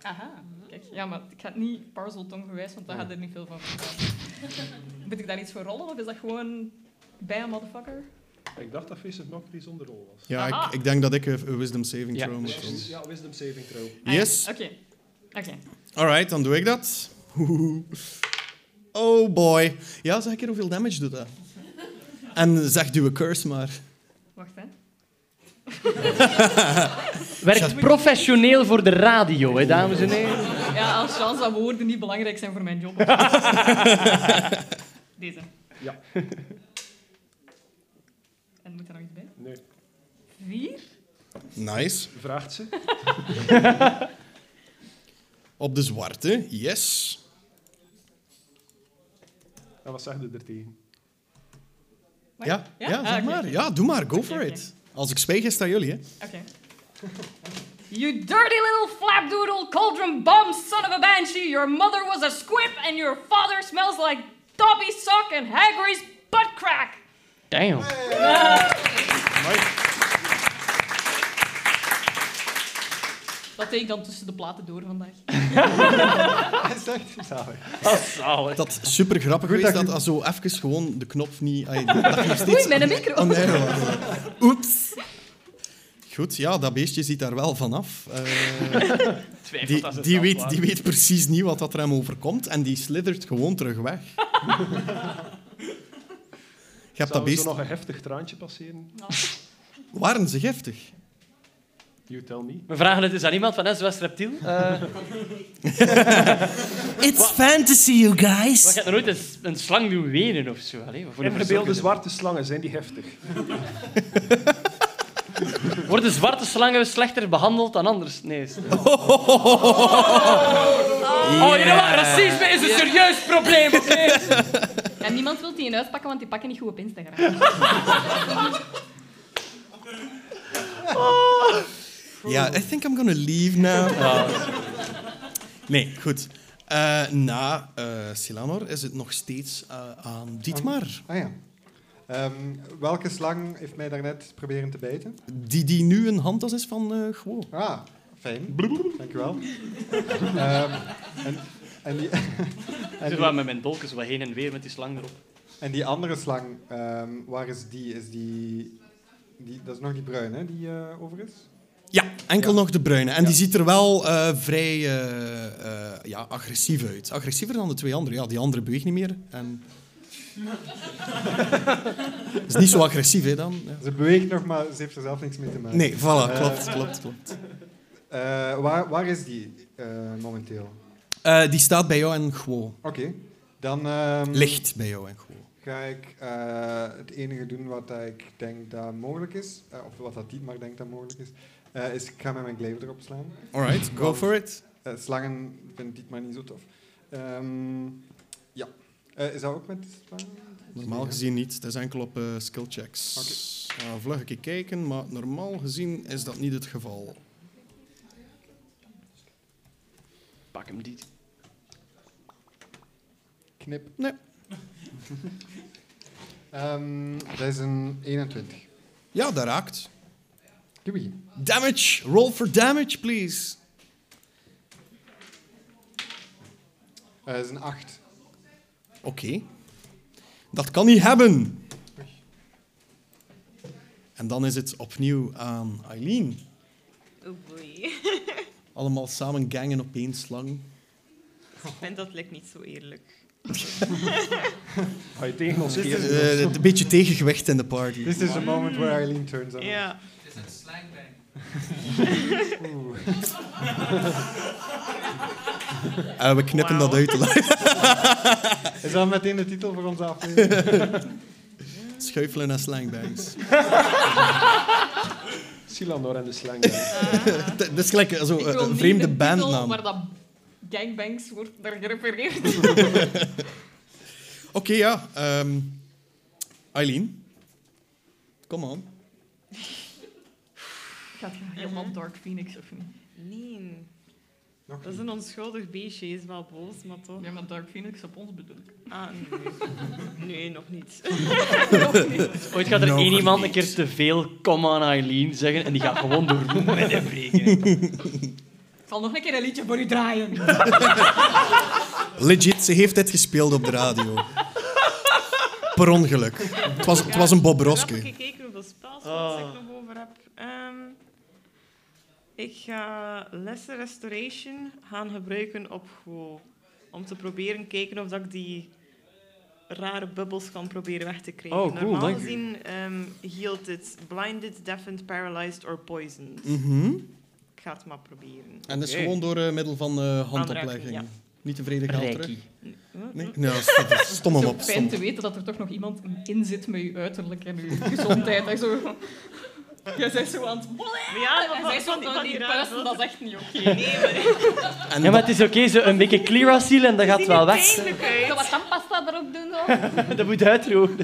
Aha. Kijk, ja, maar ik ga het niet parzeltong gewijs, want daar gaat er niet veel van vertellen. Moet ik daar iets voor rollen of is dat gewoon bij een motherfucker?
Ik dacht dat Face of Mockery zonder rol was.
Ja,
Aha.
ik, ik denk dat ik eh, een een wisdom saving
Ja.
throw moet doen.
Ja, wisdom saving throw.
Ah ja,
Yes.
Oké. Oké.
Alright, dan doe ik dat. Oh boy. Ja, zeg een keer hoeveel damage doet dat. En zeg duwe curse maar.
Wacht, hè.
Werkt professioneel voor de radio, hè, dames en heren.
Ja, als chance dat woorden niet belangrijk zijn voor mijn job. Deze.
Ja.
En moet er nog iets bij?
Nee.
Vier?
Nice.
Vraagt ze.
Op de zwarte, yes.
En wat zegt ze er tegen?
Mag
Ja,
ik?
ja?
Ah,
zeg
oké,
maar.
oké.
Ja, doe maar, go for
oké.
it. Als ik zwijg, is dat jullie, hè.
Oké. You dirty little flapdoodle, cauldron bomb, son of a banshee. Your mother was a squib and your father smells like Dobby's sock and Hagrid's butt crack.
Damn.
Dat deed ik dan tussen de platen door vandaag.
Dat is echt zalig.
Dat is zalig.
Dat is super grappig
Goed
geweest
dat
dat,
je-
als zo even gewoon de oh, knop niet... Ay, dat je nog steeds
Oei, mijn micro.
aan de air was. Oeps. Goed, ja, dat beestje ziet daar wel vanaf. Eh
Twijfelt
die,
dat ze het
die,
al
weet,
waren.
die weet precies niet wat dat er hem overkomt en die slithert gewoon terug weg. Je hebt dat
Zou er zo
beest...
nog een heftig traantje passeren?
Waren ze giftig?
You tell me.
We vragen het dus aan iemand van SOS Reptiel. Eh,
It's fantasy, you
wat
guys.
gaat er nooit een, s- een slang doen wenen of zo? Allee, wat voor een
Ingebeelde
verzorgende-
zwarte slangen, zijn die heftig?
Worden zwarte slangen slechter behandeld dan anders? Nee. is- Oh, je wat? Racisme is een serieus probleem. oké?
En niemand wil die in huis pakken, want die pakken niet goed op Instagram.
Ja, I think I'm gonna leave now. Nee, goed. Eh, na eh, Silanor is het nog steeds eh, aan Dietmar.
Ah ja. Ehm, welke slang heeft mij daarnet proberen te bijten?
Die, die nu een handtas is van eh Guo.
Ah, fijn. Dankjewel. Ehm en, en, die, en,
Ik
die,
zit met mijn dolken zo wat heen en weer met die slang erop.
en die andere slang, ehm, waar is die? Is die, die... Dat is nog die bruine, hè, die eh, over is?
Ja, enkel
Ja.
nog de bruine. En die
Ja.
ziet er wel eh, vrij eh, eh, ja, agressief uit. Agressiever dan de twee anderen. Ja, die andere beweegt niet meer. En... is niet zo agressief, hè, dan. Ja.
Ze beweegt nog, maar ze heeft er zelf niks mee te maken.
Nee, voilà, klopt, klopt, klopt.
Eh, waar, waar is die eh, momenteel?
Eh, die staat bij jou en Guo.
Oké. Dan... ehm,
Ligt bij jou en Guo.
ga ik eh, het enige doen wat dat ik denk dat mogelijk is, eh, of wat dat Dietmar denkt dat mogelijk is, eh, is ik ga met mijn glaive erop slaan.
Alright, go for it.
Eh, slangen vindt Dietmar niet zo tof. Ehm, ja. Eh, is dat ook met slangen?
Normaal gezien niet. Het is enkel op eh, skill checks. Okay. vlug een keer kijken, maar normaal gezien is dat niet het geval.
Pak hem niet.
Knip.
Nee.
Ehm, dat is een 21.
Ja, dat raakt.
Kiwi.
Damage. Roll for damage, please.
Eh, dat is een 8.
Oké. Dat kan hij hebben. En dan is het opnieuw aan Eileen.
Oh boy.
Allemaal samen gangen op één slang.
Ik vind dat lijkt niet zo eerlijk.
Ga je tegen ons
Eh,
keren?
een beetje tegengewicht in de party.
This is the moment where Eileen turns on.
Ja.
Oeh.
Eh, we knippen
Wauw.
dat uit. eh,
Is dat meteen de titel voor onze aflevering?
Schuifelen naar slangbangs.
Silanor en de slang. ja.
Het het is gelijk zo,
Ik
eh,
wil
een
niet
vreemde
de titel
bandnaam.
waar dat gangbangs wordt naar gerefereerd.
Oké, ja. ehm, Eileen. Kom aan.
Gaat helemaal Dark Phoenix of niet?
Nee.
Nog
Dat is een onschuldig beestje. Hij is wel boos, maar toch.
Ja, maar Dark Phoenix op ons bedoel ik.
Ah, nee. Nee, nog niet.
Ooit gaat er
Nog
één iemand een
niet.
keer te veel kom aan Eileen zeggen en die gaat gewoon door met de vregen.
Ik zal nog een keer een liedje voor u draaien.
Legit, ze heeft dit gespeeld op de radio. Per ongeluk. Het was, het was een Bob
Ik heb
Roske.
even gekeken hoeveel spelslot ik nog over heb. Ehm, ik ga Lesser Restoration gaan gebruiken op Go. Om te proberen kijken of dat ik die rare bubbels kan proberen weg te krijgen.
Oh, cool,
Normaal
dank u.
gezien ehm healt het blinded, deafened, paralyzed or poisoned.
Mm. Mhm.
Ik ga het maar proberen.
En dat is
Oké.
gewoon door eh, middel van eh handoplegging.
Aanraking, ja.
Niet tevreden geld terug?
Reiki.
Nee, nee stom, stom hem
Zo
op.
fijn
Stom.
te weten dat er toch nog iemand in zit met je uiterlijk en je gezondheid. En zo. Jij bent zo aan het...
Maar ja,
Jij bent zo aan
van die,
het
van die rare
persen, dat
bubbels.
is echt niet oké.
Nee, maar die
En
Ja, maar het is oké, zo een beetje clearaciel en dat gaat
zien
wel
er
weg.
pijnlijk
Zo
uit.
wat tandpasta erop doen, zo.
Dat moet uitdrogen.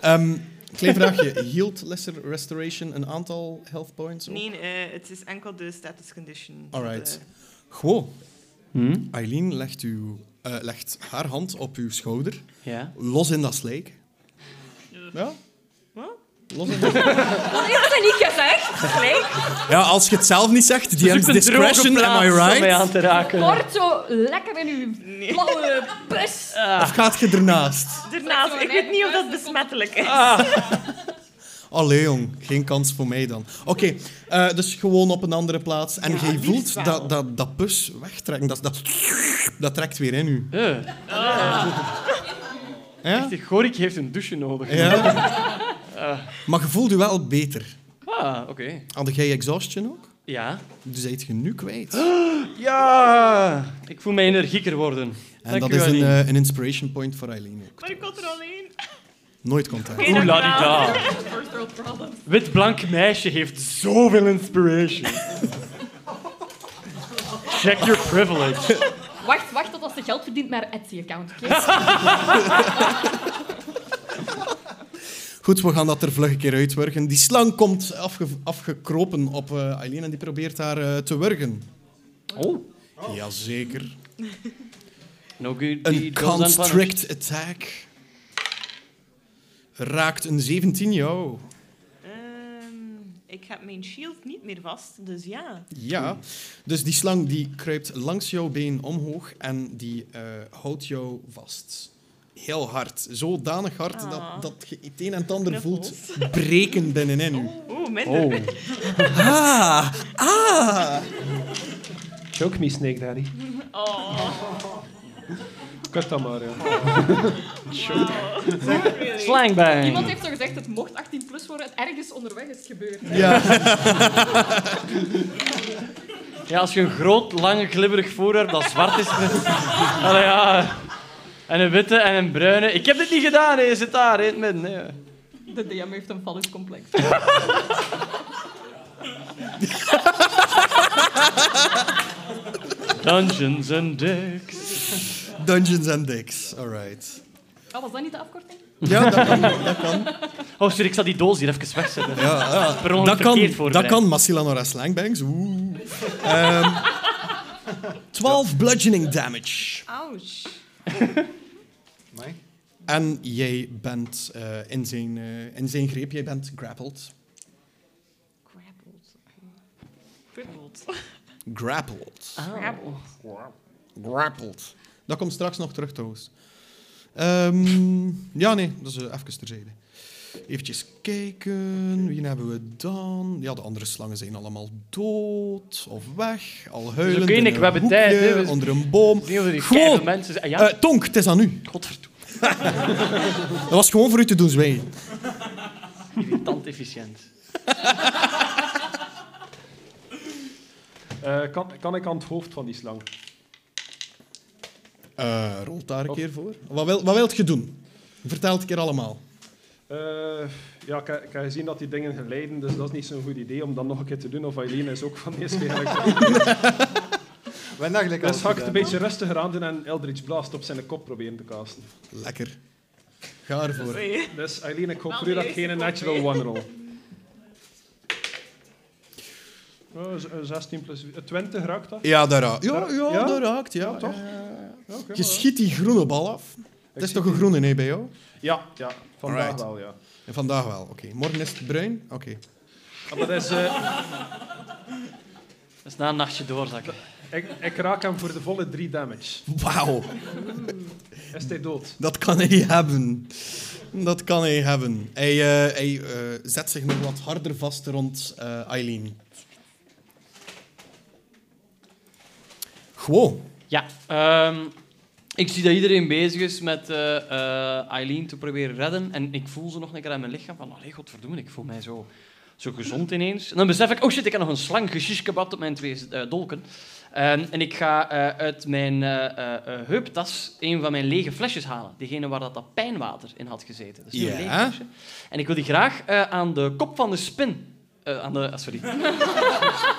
ehm, klein vraagje. Hield Lesser Restoration een aantal health points? op?
Nee, eh, het is enkel de status condition.
Alright.
De-
Gewoon. Eileen legt, uw, eh, legt haar hand op uw schouder.
Ja.
Los in dat slijk. Ja?
Wat?
Los in dat
Wat heeft ze niet gezegd?
Gelijk.
Ja, als je het zelf niet zegt, DM's
Zoekt een
discretion,
droge
am I
plaats om mij aan
right?
te raken.
Kort zo lekker in uw blauwe bus.
Of gaat je ernaast?
Daarnaast, ik weet niet of dat besmettelijk is.
Allee jong, geen kans voor mij dan. Oké, eh, dus gewoon op een andere plaats. En
Ja,
jij
liefst
voelt
wel.
dat, dat, dat pus wegtrekken. Dat, dat, dat trekt weer in u.
Eh,
Ja?
echt, Gorik heeft een douche nodig.
ja? Maar je voelt je wel beter.
Ah, oké.
Had jij exhaustion ook?
Ja.
Dus zijt je nu kwijt.
Ja! Ik voel mij energieker worden.
en dat
u,
is een,
Annie.
eh, een inspiration point voor Eileen ook.
Maar ik kon er alleen.
Nooit contact.
Oeh, la di da.
First world problems.
Wit blank meisje heeft zoveel inspiration. Check your privilege.
Wacht, wacht tot als ze geld verdient met haar Etsy-account. oké?
Goed, we gaan dat er vlug een keer uitwerken. Die slang komt afge afgekropen op eh, Eileen en die probeert haar eh, te wurgen.
Oh.
Jazeker.
No good
Een
deed goes unpunished.
constrict attack. Raakt een 17 jou.
Ehm, ik heb mijn shield niet meer vast, dus ja.
Ja. Dus die slang die kruipt langs jouw been omhoog en die eh, houdt jou vast. Heel hard. Zodanig hard
Ah.
dat, dat je het een en het ander voelt
Knuffels.
breken binnenin u.
Oeh, minder.
Oh.
Ah! Ah!
Choke me, Snake Daddy. Oh. Kut dat maar, ja.
Oh.
Really.
Slangbang.
Iemand heeft zo gezegd, het mocht 18 plus worden. Het ergens onderweg is gebeurd.
Ja.
Ja, als je een groot, lang, glibberig voorwerp dat zwart is... Allee, ja. En een witte en een bruine. Ik heb dit niet gedaan, hè. Je zit daar, hè, in het midden. hè.
De DM heeft een valluscomplex.
Dungeons and Dicks.
Dungeons and Dicks. Alright.
Ah, was dat niet de afkorting?
Ja, dat kan. Dat kan.
Oh, sorry, ik zal die doos hier even wegzetten.
Ja, ja.
Per ongeluk
Dat
verkeerd
kan, dat
voorbereid.
kan Massila Nora Slangbangs. Oeh. Ehm, 12 bludgeoning damage.
Ouch.
Amai.
En jij bent eh, in, zijn, eh, in zijn greep, jij bent grappled.
Grappled. Crippled.
Grappled.
Ah.
Grappled.
Grappled. Dat komt straks nog terug trouwens. Ehm, ja, nee, dat is eh, even terzijde. Eventjes kijken, wie hebben we dan? Ja, de andere slangen zijn allemaal dood of weg,
Dus
al huilend.
oké,
in
Nick,
een
we hebben tijd,
hoekje,
hè, we-
Onder een boom.
Niet over die
Gewoon.
keive mensen zijn. Ah, ja,
Eh, Tonk, het is aan u.
godverdomme.
Dat was gewoon voor u te doen zwijgen.
Irritant efficiënt.
Eh, kan, kan ik aan het hoofd van die slang?
Eh rolt daar
Oh.
een keer voor. Wat, wil, wat wilt je doen? Vertel het een keer allemaal.
Eh, ja, ik, heb- ik heb gezien dat die dingen geleiden, dus dat is niet zo'n goed idee om dat nog een keer te doen. Of Eileen is ook van deze eigenlijk.
Wij dachten ik
Dus ga ik het een beetje rustiger aan doen en Eldritch Blast op zijn kop proberen te casten.
Lekker. Ga ervoor.
Dus Eileen, ik hoop
Wel
voor u dat
de
ik geen
eerste
natural
kop,
one roll. Oh, z- eh, 16 plus eh, 20 raakt dat?
Ja, daar raakt. Ja,
Daar-
ja,
ja?
dat raakt. Ja,
Ja, toch?
Ja, ja, ja.
Ja, oké,
Je
maar-
schiet die groene bal af. Het is
zie
toch een groene, nee, bij jou?
Ja, ja vandaag
Alright.
wel, ja.
En vandaag wel, oké. Morgen is het bruin, oké.
Ah, Maar dat is, eh,
Dat is na een nachtje doorzakken.
ik, ik raak hem voor de volle 3 damage.
Wauw,
Is hij dood?
dat kan hij hebben. Dat kan hij hebben. Hij, eh, hij eh, zet zich nog wat harder vast rond eh, Eileen. Gewoon.
Ja, ehm, ik zie dat iedereen bezig is met eh, eh, Eileen te proberen redden. En ik voel ze nog een keer aan mijn lichaam. Van, allee, godverdomme, ik voel mij zo, zo gezond ineens. En dan besef ik, oh shit, ik heb nog een slang geshiskebat op mijn twee eh, dolken. Ehm, en ik ga eh, uit mijn eh, eh, eh, heuptas een van mijn lege flesjes halen. Diegene waar dat, dat pijnwater in had gezeten. Dat is nu een
Ja.
leeg flesje. En ik wil die graag eh, aan de kop van de spin... eh, aan de... ah, sorry.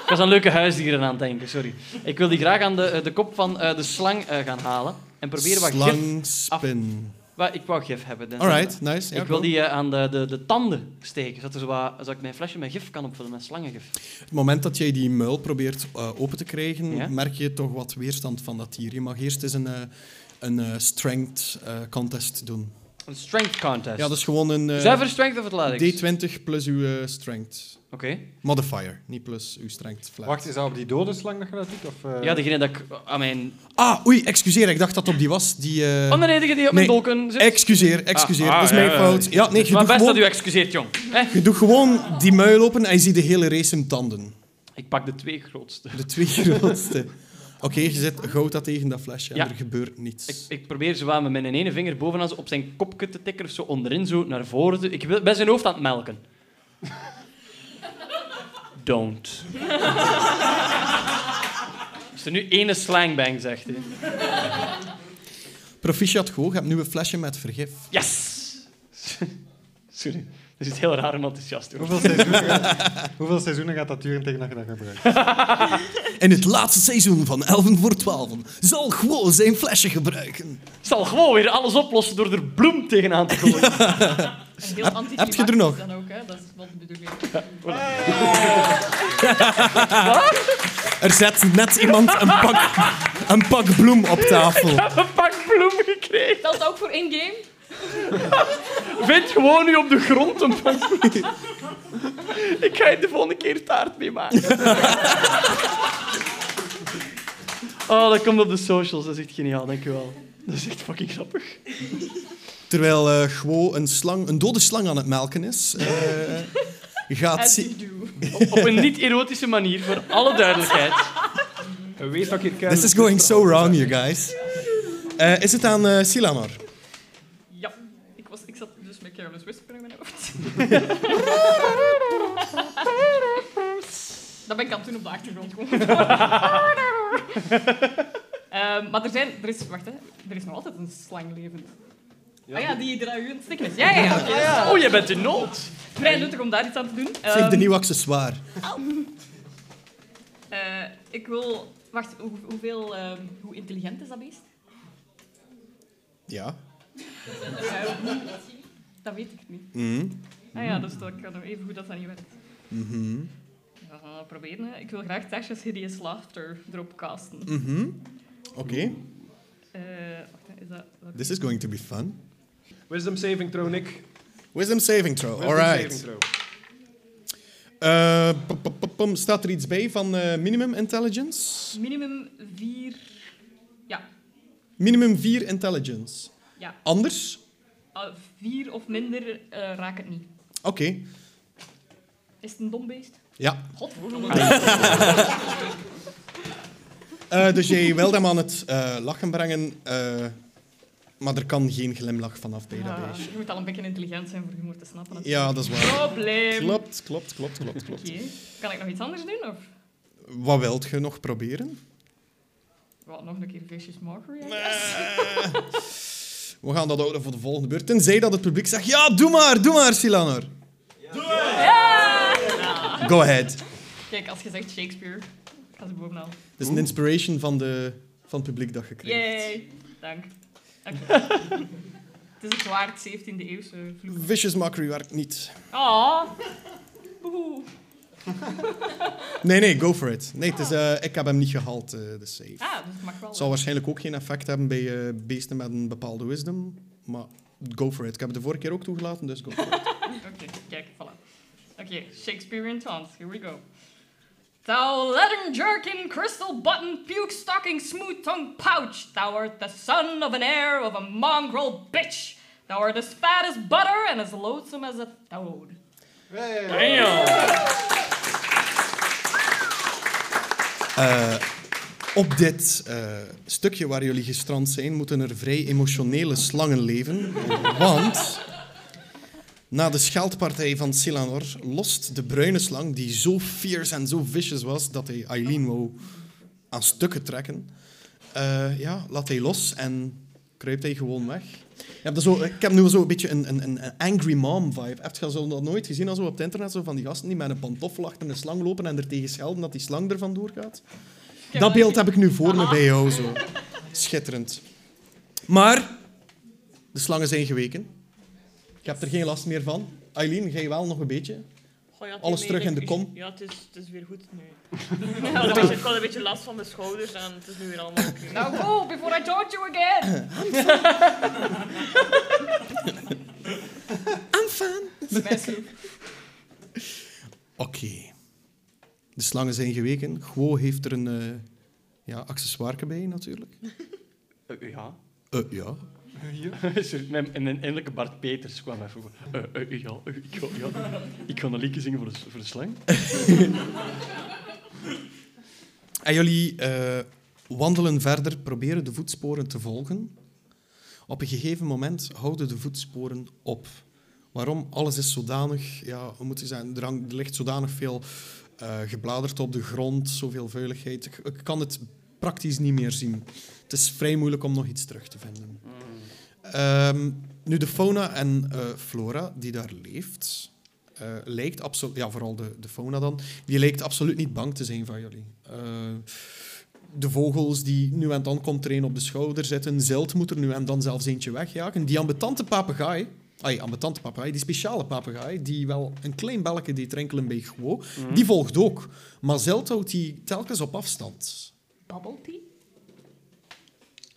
Ik was aan leuke huisdieren aan het denken, sorry. Ik wil die graag aan de, eh, de kop van eh, de slang eh, gaan halen. En proberen wat gif...
Slangspin.
Wat, ik wou gif hebben. dus-
Alright, nice. Ja,
ik wil
cool.
die eh, aan de, de, de tanden steken, zodat, er zo wat, zodat ik mijn flesje met gif kan opvullen, met slangengif.
Het moment dat jij die muil probeert eh, open te krijgen,
Ja?
merk je toch wat weerstand van dat dier. Je mag eerst eens een, eh, een eh, strength eh, contest doen.
Een strength contest.
Ja, dat is gewoon een eh,
Zuiver strength of athletics?
D20 plus uw eh, strength
Oké.
modifier, niet plus uw strength flat.
Wacht, is dat op die dode slang dat je dat doet? Of, eh,
Ja, degene dat ik aan mijn...
Ah, oei, excuseer, ik dacht dat het op die was. Die, eh,
Oh nee, degene die op mijn
nee.
dolken zit.
Excuseer, excuseer,
Ah,
dat is
ah,
mijn
ja, ja,
fout.
ja.
Ja, nee,
Het is
je
maar
doet,
best dat
gewoon,
u excuseert, jong. Hè?
je doet gewoon die muil open en je ziet de hele race in tanden.
Ik pak de twee grootste.
De twee grootste. Oké, je zet goud dat tegen dat flesje
Ja.
en er gebeurt niets.
Ik, ik probeer zo aan met mijn ene vinger bovenaan zo op zijn kopje te tikken of zo onderin, zo naar voren. te- Ik wil- ben zijn hoofd aan het melken. Don't. Als er nu ene slangbang zegt. Hè.
Proficiat gewoon, je hebt nu een flesje met vergif.
Yes! Sorry, er zit heel raar en enthousiast over.
hoeveel, seizoenen gaat, hoeveel seizoenen gaat dat duren tegen dat je dat gebruikt?
In het laatste seizoen van 11 voor 12 zal gewoon zijn flesje gebruiken.
Ik zal gewoon weer alles oplossen door er bloem tegenaan te gooien.
En heel
heb je er nog?
anticlimactisch Dan ook, hè? Dat is wat de bedoeling.
Er zet net iemand een pak, een pak bloem op tafel.
Een pak bloem gekregen.
Dat is ook voor in-game.
Vind gewoon nu op de grond een pak bloem. Ik ga je de volgende keer taart mee maken. Oh, dat komt op de socials. Dat is echt geniaal, dankjewel. Dat is echt fucking grappig.
Terwijl eh Gwo een, slang, een dode slang aan het melken is, eh, gaat,
As
Si-
you do.
Op, op een niet-erotische manier, voor alle duidelijkheid.
Je weet dat ik hier ken.
This is going so wrong, you guys. Eh, is het aan eh Silamar?
Ja, ik, was, ik zat dus met Carolus Whisper in mijn hoofd. Dat ben ik aan toen op de achtergrond gewoon. Ehm, maar er zijn, er is, wacht hè, er is nog altijd een slang levend. Ja, ja die er aan u aan het stikken is. Ja, ja, ja. oké, dat is
Oh, jij bent de nood.
Vrij nuttig om daar iets aan te doen.
Zeg de
Ehm,
nieuwe accessoire.
eh, ik wil, wacht, hoe, hoeveel, ehm, hoe intelligent is dat beest?
Ja.
Dat weet ik niet.
Mhm.
Ah ja, dus dat kan nog even goed dat dat niet werkt.
Mhm.
Ja, gaan we dat proberen. hè. Ik wil graag Tasha's Hideous Laughter erop casten.
Mhm. Oké,
Eh, wacht, hè, is dat... welke-
this is going to be fun.
Wisdom saving throw, Nick.
Wisdom saving throw,
Wisdom
alright.
saving throw.
Eh, pom, pom, pom, pom. staat er iets bij van eh, minimum intelligence?
Minimum vier... Ja.
Minimum 4 intelligence.
Ja.
Anders?
Ah, vier of minder eh, raak het niet.
Oké.
Is het een dom beest?
Ja.
Godverdomme.
Eh, dus jij wil hem aan het eh, lachen brengen, eh, maar er kan geen glimlach vanaf bij dat
Ja,
beestje.
Ah, je moet al een beetje intelligent zijn voor humor te snappen. natuurlijk.
Ja, dat is waar.
Probleem. Oké.
Klopt, klopt, klopt, klopt, klopt.
Kan ik nog iets anders doen? Of
Wat wilt je nog proberen?
wat, nog een keer Vicious Mockery? I guess?
Eh, we gaan dat houden voor de volgende beurt. Tenzij dat het publiek zegt, ja, doe maar, doe maar, Silanor. Go ahead.
Kijk, als je zegt Shakespeare, gaat ze bovenal.
Het is een inspiration van, de, van het publiek dat je krijgt.
Yay. Dank. Oké. het is het waard 17e eeuwse vloer.
Vicious Mockery werkt niet.
Oh. Boehoe.
Nee, nee, go for it. Nee, het is, eh, ik heb hem niet gehaald, eh, de save.
Ah, dus het mag wel.
Het zal waarschijnlijk ook geen effect hebben bij eh, beesten met een bepaalde wisdom. Maar go for it. Ik heb het de vorige keer ook toegelaten, dus go for it.
Oké, kijk, voilà. Oké, Shakespearean taunts, here we go. Thou leaden jerkin, crystal button, puke stocking, smooth tongue pouch, thou art the son of an heir of a mongrel bitch. Thou art as fat as butter and as loathsome as a toad.
Eh,
Op dit eh, stukje waar jullie gestrand zijn, moeten er vrij emotionele slangen leven. Want na de scheldpartij van Silanor lost de bruine slang, die zo fierce en zo vicious was dat hij Eileen wou aan stukken trekken, eh, ja, laat hij los en kruipt hij gewoon weg. Je hebt er zo, ik heb nu zo een beetje een, een, een een angry mom vibe. Heb je zo nog nooit gezien als zo op het internet zo van die gasten die met een pantoffel achter een slang lopen en er tegen schelden dat die slang er vandoor gaat? Dat beeld heb ik nu voor me bij jou zo. Schitterend. Maar de slangen zijn geweken. Ik heb er geen last meer van. Eileen, jij wel nog een beetje?
Goh, ja, het
Alles
is
terug
meer-
in de kom.
Ja, het is, het is weer goed nu. ik had een beetje- ik had een beetje last van mijn schouders en het is nu weer allemaal oké.
Now go before I taunt you again! Smijtsoep.
Oké. De slangen zijn geweken. Guo heeft er een eh, ja, accessoire bij, natuurlijk.
Eh, ja.
Eh, ja.
Sorry, mijn, mijn innerlijke Bart Peters kwam even. voor. Eh, eh, ja, eh, ik, ga, ja. ik ga een liedje zingen voor de, voor de slang.
En jullie eh, wandelen verder, proberen de voetsporen te volgen. Op een gegeven moment houden de voetsporen op. Waarom? Alles is zodanig... Ja, hoe moet je zeggen? Er, hangt- er ligt zodanig veel eh, gebladerd op de grond, zoveel vuiligheid. Ik, ik kan het praktisch niet meer zien. Het is vrij moeilijk om nog iets terug te vinden. Ehm, nu, de fauna en eh, flora die daar leeft, eh, lijkt absoluut... Ja, vooral de, de fauna dan die lijkt absoluut niet bang te zijn van jullie. Eh, de vogels die nu en dan komt er een op de schouder zitten, zilt moet er nu en dan zelfs eentje wegjagen. Die ambetante papegaai, ai, ambetante papegaai, die speciale papegaai, die wel een klein belletje deed rinkelen bij Guo, die volgt ook. Maar zilt houdt die telkens op afstand.
Bubble tea?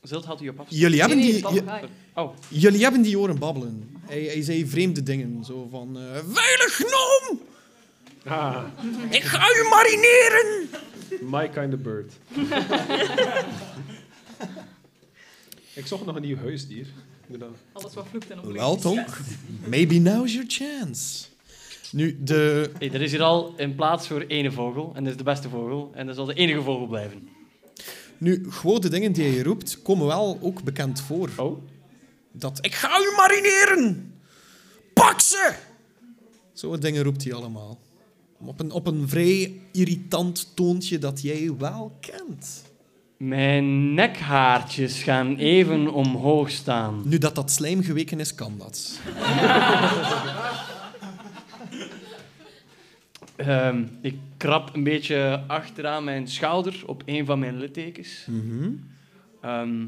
Zult had u op af.
Jullie hebben
Nee, nee,
die...
bubble guy.
Oh,
j- Jullie hebben die horen babbelen. Hij, hij zei vreemde dingen. Zo van... eh, Vuile gnoom!
Ah,
Ik ga u marineren!
my kind of bird. ik zocht nog een nieuw huisdier. Ik moet dat-
Alles wat vloekt en opbreekt.
Wel, Tonk. Maybe now's your chance. Nu, de...
hey, er is hier al een plaats voor ene vogel. En dat is de beste vogel. En dat zal de enige vogel blijven.
Nu, gewoon de dingen die je roept, komen wel ook bekend voor.
Oh?
Dat ik ga u marineren! Pak ze! Zo'n dingen roept hij allemaal. Op een, op een vrij irritant toontje dat jij wel kent.
Mijn nekhaartjes gaan even omhoog staan.
Nu dat dat slijm geweken is, kan dat.
Ehm, ik krab een beetje achteraan mijn schouder op een van mijn littekens. Ehm,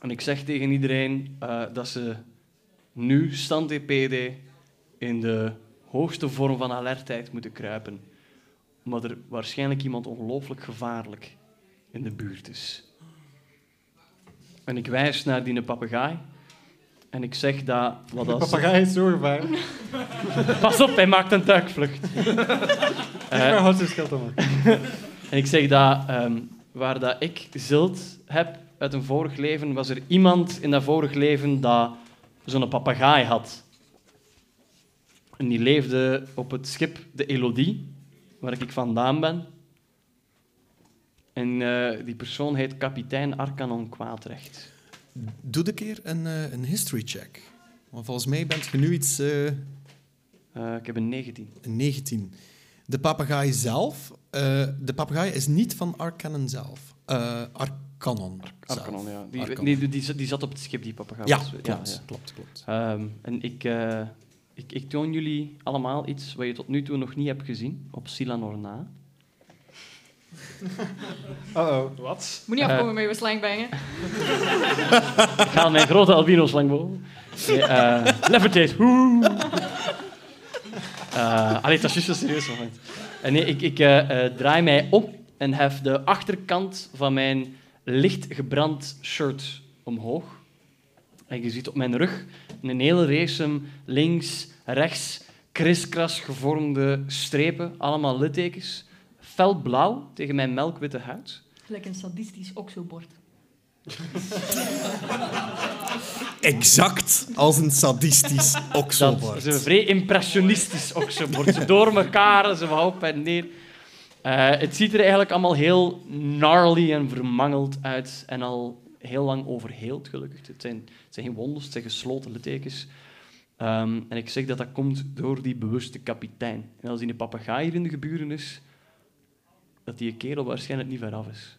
en ik zeg tegen iedereen eh, dat ze nu, stand EPD, in de hoogste vorm van alertheid moeten kruipen. Omdat er waarschijnlijk iemand ongelooflijk gevaarlijk in de buurt is. En ik wijs naar die papegaai. En ik zeg dat... Wat
De
als-
papegaai is zo gevaarlijk.
Pas op, hij maakt een duikvlucht. Eh,
Mijn hart is geld om.
En ik zeg dat ehm, waar dat ik zilt heb uit een vorig leven, was er iemand in dat vorig leven dat zo'n papegaai had. En die leefde op het schip de Elodie, waar ik vandaan ben. En eh, die persoon heet kapitein Arcanon Kwaadrecht.
Doe een keer een, eh, een history check. Want volgens mij bent je nu iets... eh,
Eh, ik heb een 19.
19. De papegaai zelf... eh, de papegaai is niet van Arcanon zelf. Eh Arcanon. zelf.
Arcanon, ja. Die,
Arcanon.
die, die, die zat op het schip, die papegaai.
Ja,
Dus,
klopt, klopt, klopt.
Ehm, en ik, eh, ik, ik toon jullie allemaal iets wat je tot nu toe nog niet hebt gezien op Silanorna.
Uh-oh.
Wat?
Moet niet afkomen met je slangbangen.
Ik haal mijn grote albino slangboom. Nee, eh, levitate. Woe. Eh, allee, dat is juist een serieus moment. En nee, ik, ik eh, eh, draai mij om en hef de achterkant van mijn licht gebrand shirt omhoog. En je ziet op mijn rug een hele reeksem links, rechts, kriskras gevormde strepen, allemaal littekens. Fel blauw tegen mijn melkwitte huid.
Gelijk een sadistisch oxobord.
Exact als een sadistisch
Dat
okselbord.
ze vrij impressionistisch ook zo wordt. Ze door elkaar, ze van op en neer. Eh, het ziet er eigenlijk allemaal heel gnarly en vermangeld uit. En al heel lang overheeld, gelukkig. Het zijn, het zijn geen wonders, het zijn gesloten littekens. Ehm, en ik zeg dat dat komt door die bewuste kapitein. En als die een papegaai hier in de geburen is, dat die kerel waarschijnlijk niet ver af is.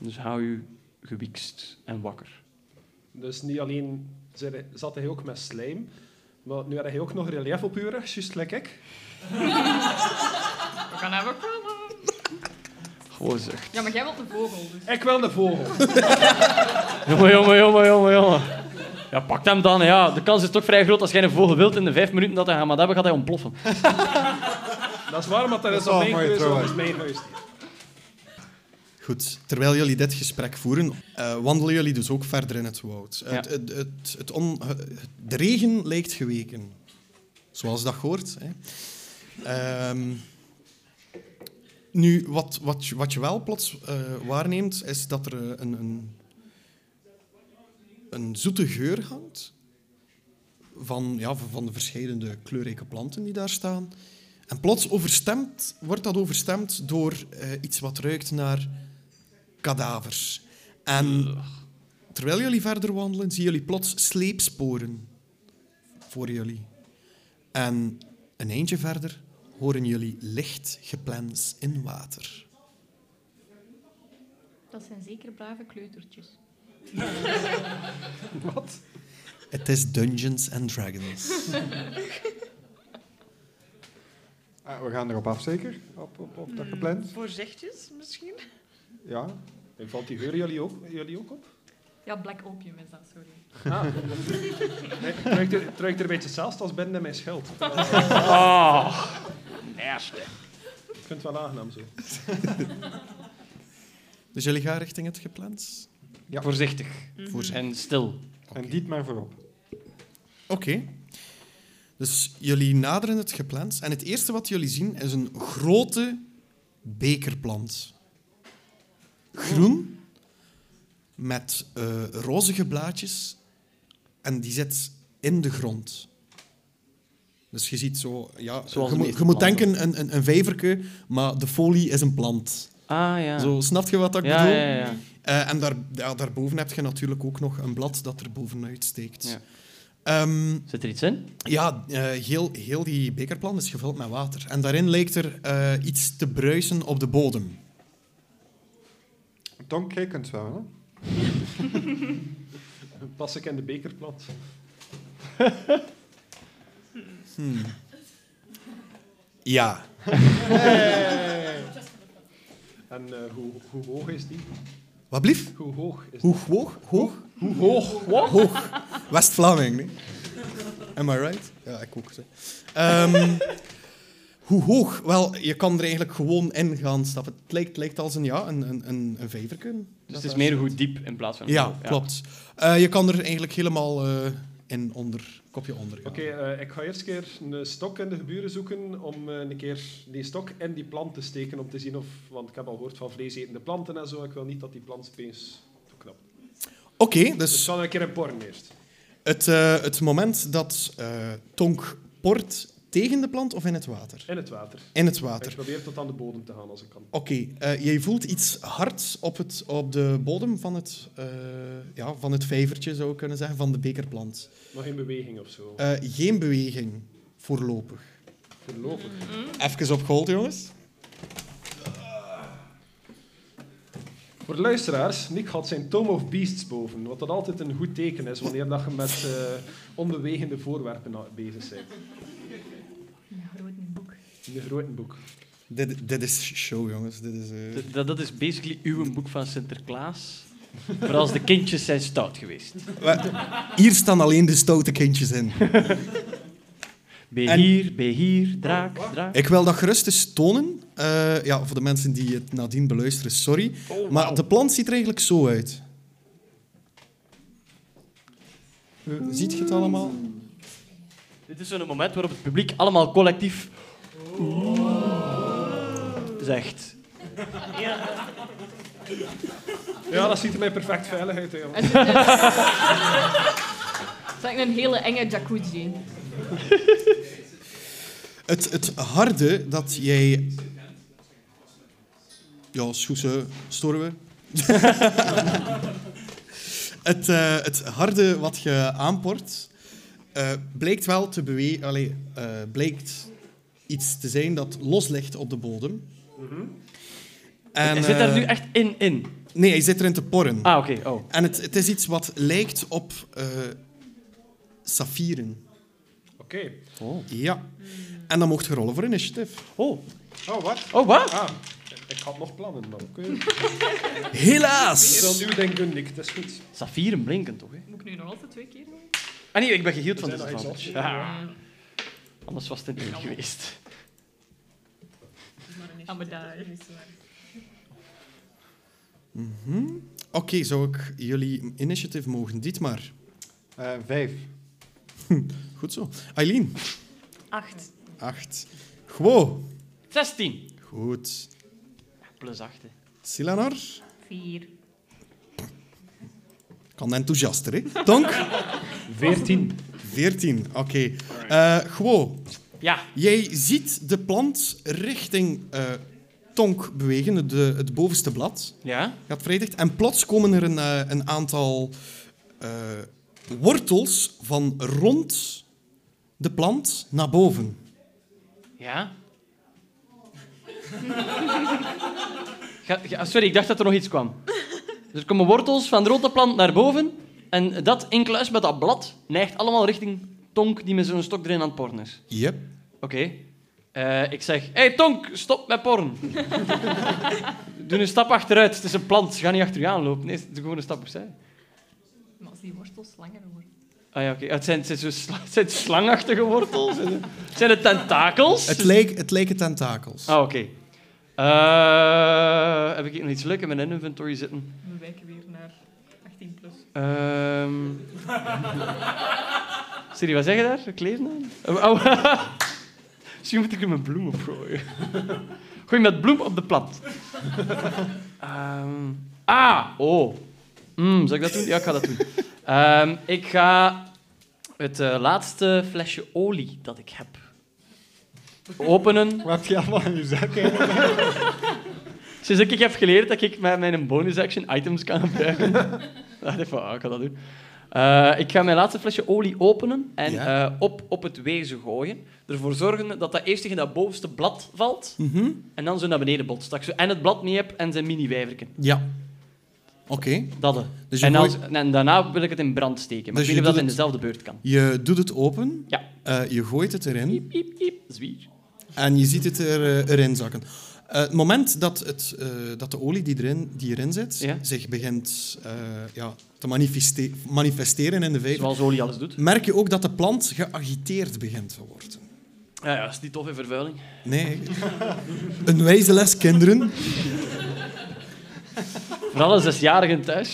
Dus hou u gewikst en wakker.
Dus niet alleen zei- zat hij ook met slijm, maar nu had hij ook nog relief op uren, juist like ik.
We gaan even komen.
Gewoon zucht.
Ja, maar jij wilt een vogel, dus.
Ik wil de vogel.
Jongen, jongen, jongen, jongen, jongen. Ja, pak hem dan. Ja. De kans is toch vrij groot als jij een vogel wilt in de vijf minuten dat hij gaat hebben, gaat hij ontploffen.
Dat is waarom, want dat
Dat
is
is wel
al mijn
een mooie
keuze, dat
Oh, throwback.
is mijn huisdier.
Goed, terwijl jullie dit gesprek voeren, eh, wandelen jullie dus ook verder in het woud.
Ja.
Het, het, het, het on- eh, de regen lijkt geweken. Zoals dat hoort. Hè. Ehm, nu, wat, wat, je- wat je wel plots eh, waarneemt, is dat er eh, een, een, een zoete geur hangt. Van, ja, van- van de verschillende kleurrijke planten die daar staan. En plots overstemd, wordt dat overstemd door eh, iets wat ruikt naar kadavers. En terwijl jullie verder wandelen, zien jullie plots sleepsporen voor jullie. En een eindje verder horen jullie licht geplens in water.
Dat zijn zeker brave kleutertjes.
Wat?
Het is Dungeons and Dragons.
Ah, we gaan erop af, zeker? Op, op, op dat gepland?
Voorzichtjes misschien?
Ja.
En valt die geur jullie ook, jullie ook op?
Ja, black opium is dat, sorry.
Ah. Nee, het ruikt er, het ruikt er een beetje zelfs als binnen in mijn schild.
Ah, nasty.
Ik vind het wel aangenaam zo.
Dus jullie gaan richting het geplens?
Ja.
Voorzichtig
Voorzichtig.
en stil.
En dit maar voorop.
Oké. Dus jullie naderen het geplens en het eerste wat jullie zien is een grote bekerplant. Groen, met eh, rozige blaadjes en die zit in de grond. Dus je ziet zo, ja,
Zoals de
je, moet-
meeste
je moet
planten.
denken een, een, een vijverke, maar de folie is een plant.
Ah ja.
Zo, snap je wat ik
ja,
bedoel?
ja, ja.
Eh, en daar, ja, daarboven heb je natuurlijk ook nog een blad dat er bovenuit steekt.
Ja.
Ehm,
Zit er iets in?
ja, eh, heel, heel die bekerplan is gevuld met water. En daarin lijkt er eh, iets te bruisen op de bodem.
Tonk, jij kunt zwemmen, hè?
Pas ik in de bekerplant.
Ja.
En eh, hoe, hoe hoog is die?
Wat blief?
Hoe hoog is die?
Hoe hoog? Hoog?
Hoe hoog? Wat?
Hoog. West-Vlaming, nee? Am I right? Ja, ik ook. zo. Ehm, hoe hoog? Wel, je kan er eigenlijk gewoon in gaan stappen. Het lijkt, het lijkt als een, ja, een, een, een, een vijverken.
Dus
Dat
het is
daar
meer hoe diep in plaats van.
Ja, klopt. Eh, je kan er eigenlijk helemaal eh, in onder, kopje onder gaan.
Oké, eh, ik ga eerst keer een stok in de geburen zoeken om eh, een keer die stok in die plant te steken om te zien of... Want ik heb al gehoord van vleesetende planten en zo. Ik wil niet dat die plant opeens toeknapt.
Oké,
Dus
dus
zal een keer een porn eerst.
het, eh, het moment dat eh, Tonk port tegen de plant of in het water?
In het water.
In het
Ik
water.
probeer tot aan de bodem te gaan als ik kan.
Oké, eh, jij voelt iets hards op, het, op de bodem van het, eh, ja, van het vijvertje, zou ik kunnen zeggen, van de bekerplant.
Nog geen beweging of zo.
Eh, geen beweging voorlopig.
Voorlopig.
Even op gold, jongens.
Voor de luisteraars, Nick had zijn Tome of Beasts boven, wat dat altijd een goed teken is wanneer dat je met eh, onbewegende voorwerpen na- bezig bent.
Een groot boek.
In een groot boek.
Dit, dit is show, jongens. Dit is, eh,
Dat- Dat, dat is basically uw boek van Sinterklaas. Voor als de kindjes zijn stout geweest.
Wa- Hier staan alleen de stoute kindjes in.
Be
En-
hier, be hier, draak, draak.
Ik wil dat gerust eens tonen. Eh, ja, voor de mensen die het nadien beluisteren, sorry. Maar de plant ziet er eigenlijk zo uit. Eh, ziet je het allemaal?
Dit is zo'n moment waarop het publiek allemaal collectief...
Oh.
Zegt.
Ja, dat ziet er mij perfect veilig uit, hè, jongen.
Het is een- Het is eigenlijk een hele enge jacuzzi.
Het, het harde dat jij... Ja, schoese, storen we. het, eh, het harde wat je aanport, eh, blijkt wel te bewe- allee, eh, blijkt iets te zijn dat los ligt op de bodem. En,
Mhm. Hij zit daar
eh,
nu echt in, in.
Nee, hij zit erin te porren.
Ah, oké. Oh.
En het, het is iets wat lijkt op eh saffieren.
Oké.
Ja. En dan mocht je rollen voor initiatief.
Oh.
Oh, wat?
Oh, wat?
Ah, ik had nog plannen, maar oké. Ik
Helaas!
wil nu denken, Nick, dat is goed.
Saffieren blinken toch, hè?
Moet ik nu nog altijd twee keer doen?
Ah nee, ik ben geheeld van
Er
deze
zijn nog
vrouw.
iets
Ja. Anders was het een één geweest.
Aan mijn daar.
Oké, zou ik jullie initiatief mogen? Dit maar.
Eh, vijf.
Goed zo. Aileen,
Acht.
Acht. Gwo.
16.
Goed.
Plus 8. hè.
Silanar.
Vier.
Kan enthousiaster, hè? Tonk.
14.
Veertien. Oké. Eh Gwo.
Ja,
Jij ziet de plant richting eh, Tonk bewegen, de, het bovenste blad.
ja.
Gaat vrij dicht. En plots komen er een, eh, een aantal eh, wortels van rond de plant naar boven.
Ja. Ga- ga- sorry, ik dacht dat er nog iets kwam. Dus er komen wortels van de rode plant naar boven. En dat in kluis met dat blad neigt allemaal richting Tonk, die met zo'n stok erin aan het porn is.
Yep.
Oké. Eh, ik zeg, hey Tonk, stop met porn. Doe een stap achteruit. Het is een plant. Ze gaan niet achter je aanlopen. Nee, doe gewoon een stap opzij.
Maar als die wortels langer worden...
Ah ja, oké. Ah, Het, zijn, het, zijn zo sla- het zijn slangachtige wortels. Het zijn het tentakels.
Het, lijk, het lijken tentakels.
Ah, oké. Eh, heb ik nog iets leuks in mijn inventory zitten?
We wijken weer naar 18 plus.
Dus
Ehm. Sorry, wat zeg je daar? Kleven aan? Oh, oh. Misschien moet ik er mijn bloem op gooien. Gooi met bloem op de plant. Ehm, ah, oh. Mm, zal ik dat doen? Ja, ik ga dat doen. Ehm, ik ga het eh, laatste flesje olie dat ik heb openen.
Wat heb je allemaal in je zak? hè?
Sinds ik heb geleerd dat ik met mijn bonus action items kan gebruiken. dacht ik van, ah, ik ga dat doen. Eh, ik ga mijn laatste flesje olie openen en
Ja.
eh, op, op het wezen gooien. Ervoor zorgen dat dat eerst tegen dat bovenste blad valt
Mhm.
en dan zo naar beneden botst. Dat ik zo en het blad mee heb en zijn mini-wijverken.
Ja. Oké.
Dat hè.
Dus je,
en,
gooit-
als, en daarna wil ik het in brand steken.
Dus
Maar ik weet niet
je
of dat
doet
in dezelfde beurt kan.
je doet het open.
Ja.
Eh, je gooit het erin.
Piep, piep, piep. Zwier.
En je ziet het er, eh, erin zakken. Eh, het moment dat, het, eh, dat de olie die erin, die erin zit
Ja.
zich begint eh, ja, te manifeste- manifesteren in de vijver,
Zoals olie alles doet.
merk je ook dat de plant geagiteerd begint te worden.
Ja, ja, is niet tof in vervuiling.
Nee. Een wijze les, kinderen.
Voor alle zesjarigen thuis.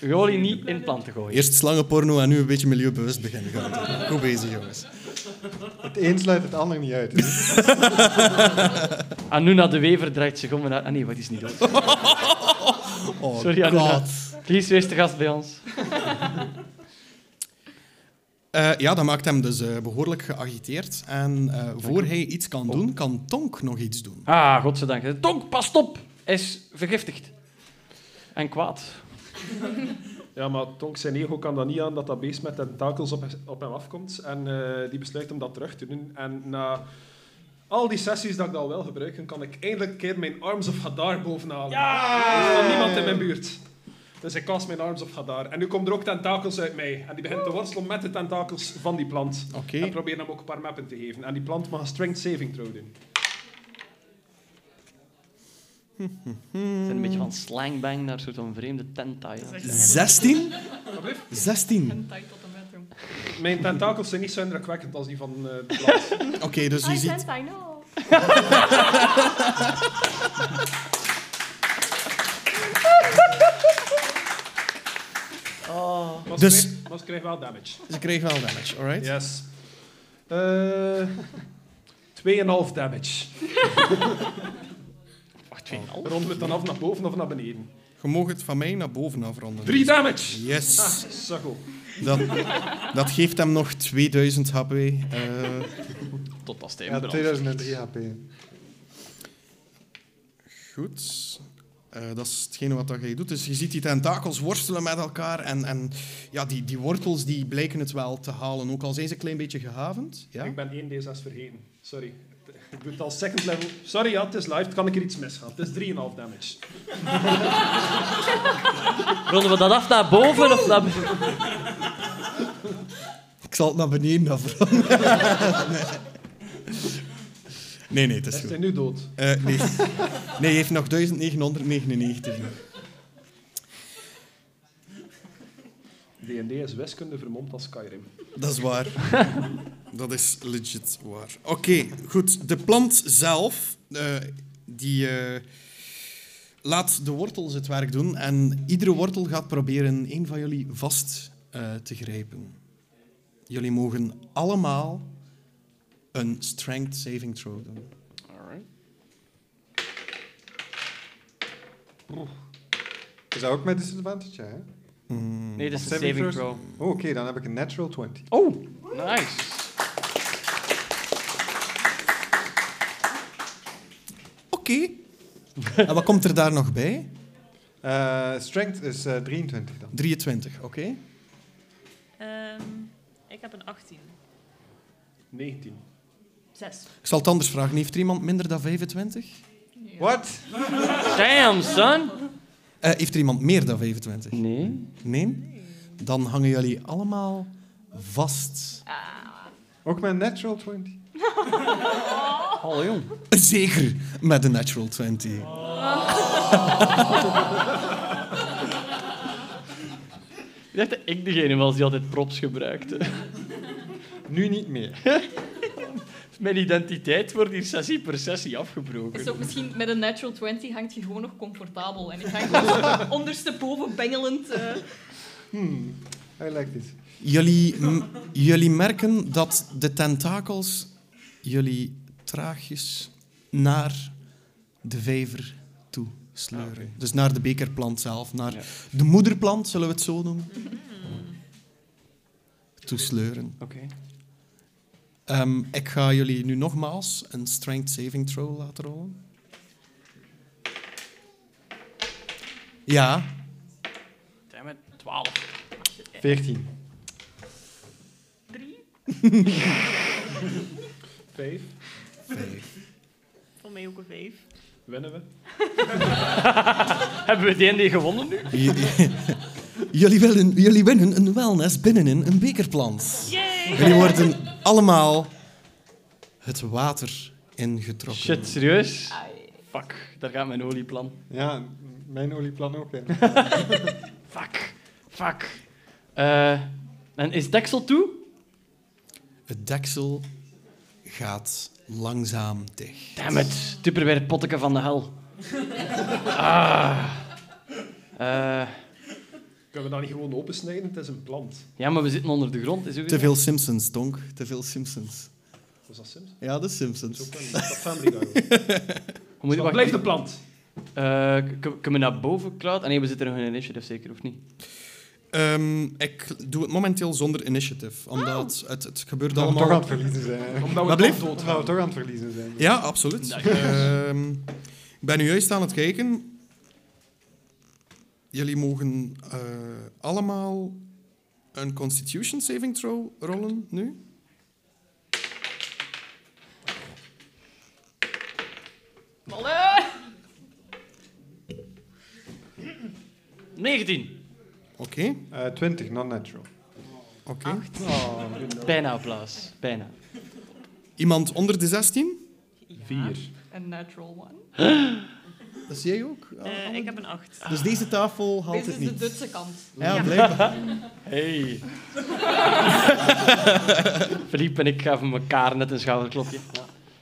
Je olie niet in planten gooien.
Eerst slangenporno en nu een beetje milieubewust beginnen gaan. doen. Goed bezig, jongens.
Het een sluit het ander niet uit. hè.
Anuna de Wever draait zich om en... Ah nee, wat is niet dood.
Oh,
Sorry, Anuna. Kies wees te gast bij ons.
Eh, ja, dat maakt hem dus eh, behoorlijk geagiteerd. En eh, voor hij iets kan doen, kan Tonk nog iets doen.
Ah, godzijdank. Tonk, pas op! Hij is vergiftigd. En kwaad.
Ja, maar Tonk zijn ego kan dat niet aan dat dat beest met tentakels op, op hem afkomt. En eh, die besluit om dat terug te doen. En na al die sessies dat ik dat wel gebruik, kan ik eindelijk een keer mijn Arms of Hadar bovenhalen. Er is nog niemand in mijn buurt. Dus ik cast mijn Arms of Hadar. En nu komen er ook tentakels uit mij. En die begint te worstelen met de tentakels van die plant.
Oké.
En probeer hem ook een paar mappen te geven. En die plant mag een strength saving throw doen.
Het zijn een beetje van slangbang naar soort van vreemde ah, tentai.
Dat is echt-
16?
Wat blijft?
16.
Een tot een bedroom.
Mijn tentakels zijn niet zo indrukwekkend als die van eh, de plant.
Oké, dus je
I
ziet...
sense, I know.
Maar ze
Dus-
krijgt- maar ze krijgt wel damage.
Ze kreeg wel damage, alright?
Yes. Eh 2,5 damage.
Wacht, twee en een half.
Rond het dan af naar boven of naar beneden.
Je mag het van mij naar boven afronden.
3 damage!
Yes.
Ah, sukkel.
Dat, dat geeft hem nog 2000 HP. Eh,
Tot als hij in
Ja,
brand
2003 HP.
goed. Eh, dat is hetgene wat dat jij doet. Dus je ziet die tentakels worstelen met elkaar. En, en ja, die, die wortels die blijken het wel te halen. Ook al zijn ze een klein beetje gehavend. Ja?
Ik ben 1 D6 vergeten. Sorry. Ik doe het al second level. Sorry, ja, het is live. Het kan een keer iets misgaan. Het is 3,5 damage.
vliegt. Ronden we dat af naar boven of naar beneden?
Ik zal het naar beneden afronden. nee, nee, het is
Is
goed.
hij nu dood?
Eh, nee. nee, hij heeft nog 1999. nog.
D&D is wiskunde vermomd als Skyrim.
Dat is waar. Dat is legit waar. Oké, goed. De plant zelf, eh, die eh, laat de wortels het werk doen. En iedere wortel gaat proberen een van jullie vast eh, te grijpen. Jullie mogen allemaal een strength saving throw doen.
Alright.
Is dat ook met disadvantage, hè?
Nee, dat is een
Saving
saving
throws?
throw.
Oh, oké, dan heb ik een natural 20.
Oh, nice.
Oké. en wat komt er daar nog bij?
Eh, strength is eh, 23 dan.
23, oké.
Ehm, ik heb een 18.
19.
6.
Ik zal het anders vragen. Heeft er iemand minder dan 25?
What?
Damn, son.
Eh, heeft er iemand meer dan 25?
Nee.
Nee? Dan hangen jullie allemaal vast.
Ook met een natural 20.
Alle jong.
Zeker met de natural 20.
Ik dacht dat ik degene was die altijd props gebruikte.
Nu niet meer.
Mijn identiteit wordt hier sessie per sessie afgebroken.
Is ook misschien met een natural 20 hangt je gewoon nog comfortabel. En ik hang gewoon ondersteboven bengelend. eh.
I like this.
Jullie, m- jullie merken dat de tentakels jullie traagjes naar de vijver toe sleuren. Dus naar de bekerplant zelf, naar
Ja.
de moederplant, zullen we het zo noemen. Toesleuren.
Oké.
Ehm, ik ga jullie nu nogmaals een strength saving throw laten rollen. Ja,
Damn it, 12.
14.
5.
Voor mij ook een 5.
Winnen we.
Hebben we D&D gewonnen nu?
J- jullie, willen, jullie winnen een wellness binnenin een bekerplant.
Yay!
Jullie worden allemaal het water ingetrokken.
Shit, serieus? Fuck, daar gaat mijn olieplan.
Ja, mijn olieplan ook. Hè.
Fuck, fuck. Eh, en is deksel toe?
Het deksel gaat langzaam dicht.
Damn it, Tupperware potteken van de hel. Ah. Eh,
Kunnen we dat niet gewoon opensnijden? Het is een plant.
ja, maar we zitten onder de grond. Is ook
Te veel Simpsons, Tonk. Te veel Simpsons.
Was dat Sims?
Ja, de Simpsons.
Dat is ook een dat is family guy.
We moeten
Dat
wacht-
blijft een plant.
Eh, k- kunnen we naar boven klauteren? Ah nee, we zitten nog in een initiative, zeker, of niet?
Ehm, ik doe het momenteel zonder initiative,
Ah.
omdat het, het gebeurt
Omdat we toch aan
allemaal...
het verliezen zijn. hè.
Omdat we
Wat
het
blijft?
plant dood
Omdat we toch aan het verliezen zijn.
Ja, absoluut. Ehm, ik ben nu juist aan het kijken. Jullie mogen eh, allemaal een Constitution Saving Throw rollen nu.
Malle!
19.
Oké.
Eh, 20, non-natural.
Oké.
Bijna applaus. Bijna.
Iemand onder de 16?
Vier.
Een natural one.
Dat zie jij ook.
Eh, ik heb een 8.
Dus deze tafel haalt
Dit is de Duitse kant.
Ja, blijkbaar.
Hey. Philippe en ik gaven elkaar net een schouderklopje.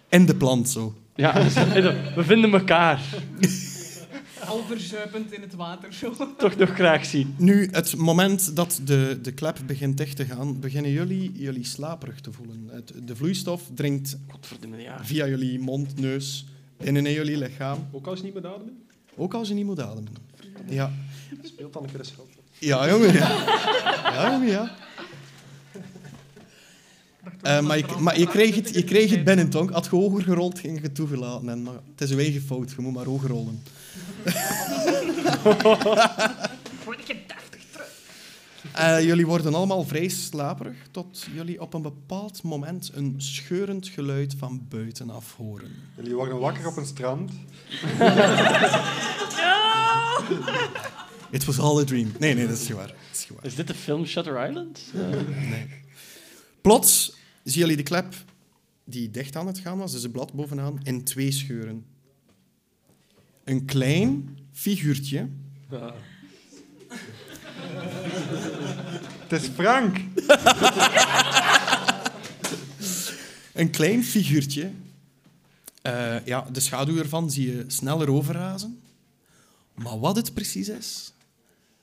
En de plant zo.
Ja, we vinden elkaar.
Al verzuipend in het water. Zo.
Toch nog graag zien.
Nu, het moment dat de, de klep begint dicht te gaan, beginnen jullie jullie slaperig te voelen. Het, de vloeistof dringt
Godverdomme, ja.
via jullie mond, neus, binnen in jullie lichaam.
Ook als je niet met ademen,
Ook als je niet moet ademen. Ja,
speelt dan een keer een scheld.
ja jongen. Ja, ja jongen, ja. Eh, maar je, maar je, kreeg het, je kreeg het binnen, Tonk. Had je hoger gerold, ging je het toegelaten. En, maar het is je eigen fout, je moet maar hoger rollen.
Word ik je deftig terug?
Eh, jullie worden allemaal vrij slaperig, tot jullie op een bepaald moment een scheurend geluid van buitenaf horen.
Jullie worden wakker op een strand.
It was all a dream. Nee, nee, dat is niet waar. Dat is niet waar.
Is dit de film Shutter Island?
Plots zien jullie de klep die dicht aan het gaan was, dus het blad bovenaan, in twee scheuren. Een klein figuurtje.
Het is Frank!
Een klein figuurtje. Eh, ja, de schaduw ervan zie je sneller overrazen. Maar wat het precies is,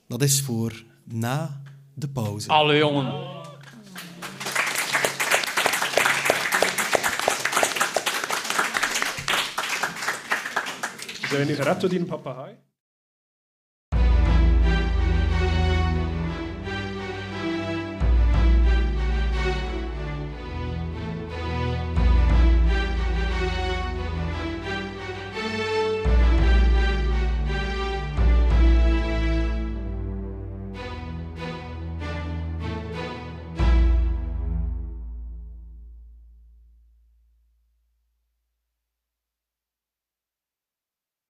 dat is voor na de pauze.
Alle jongen.
Zijn we nu gered door die papegaai?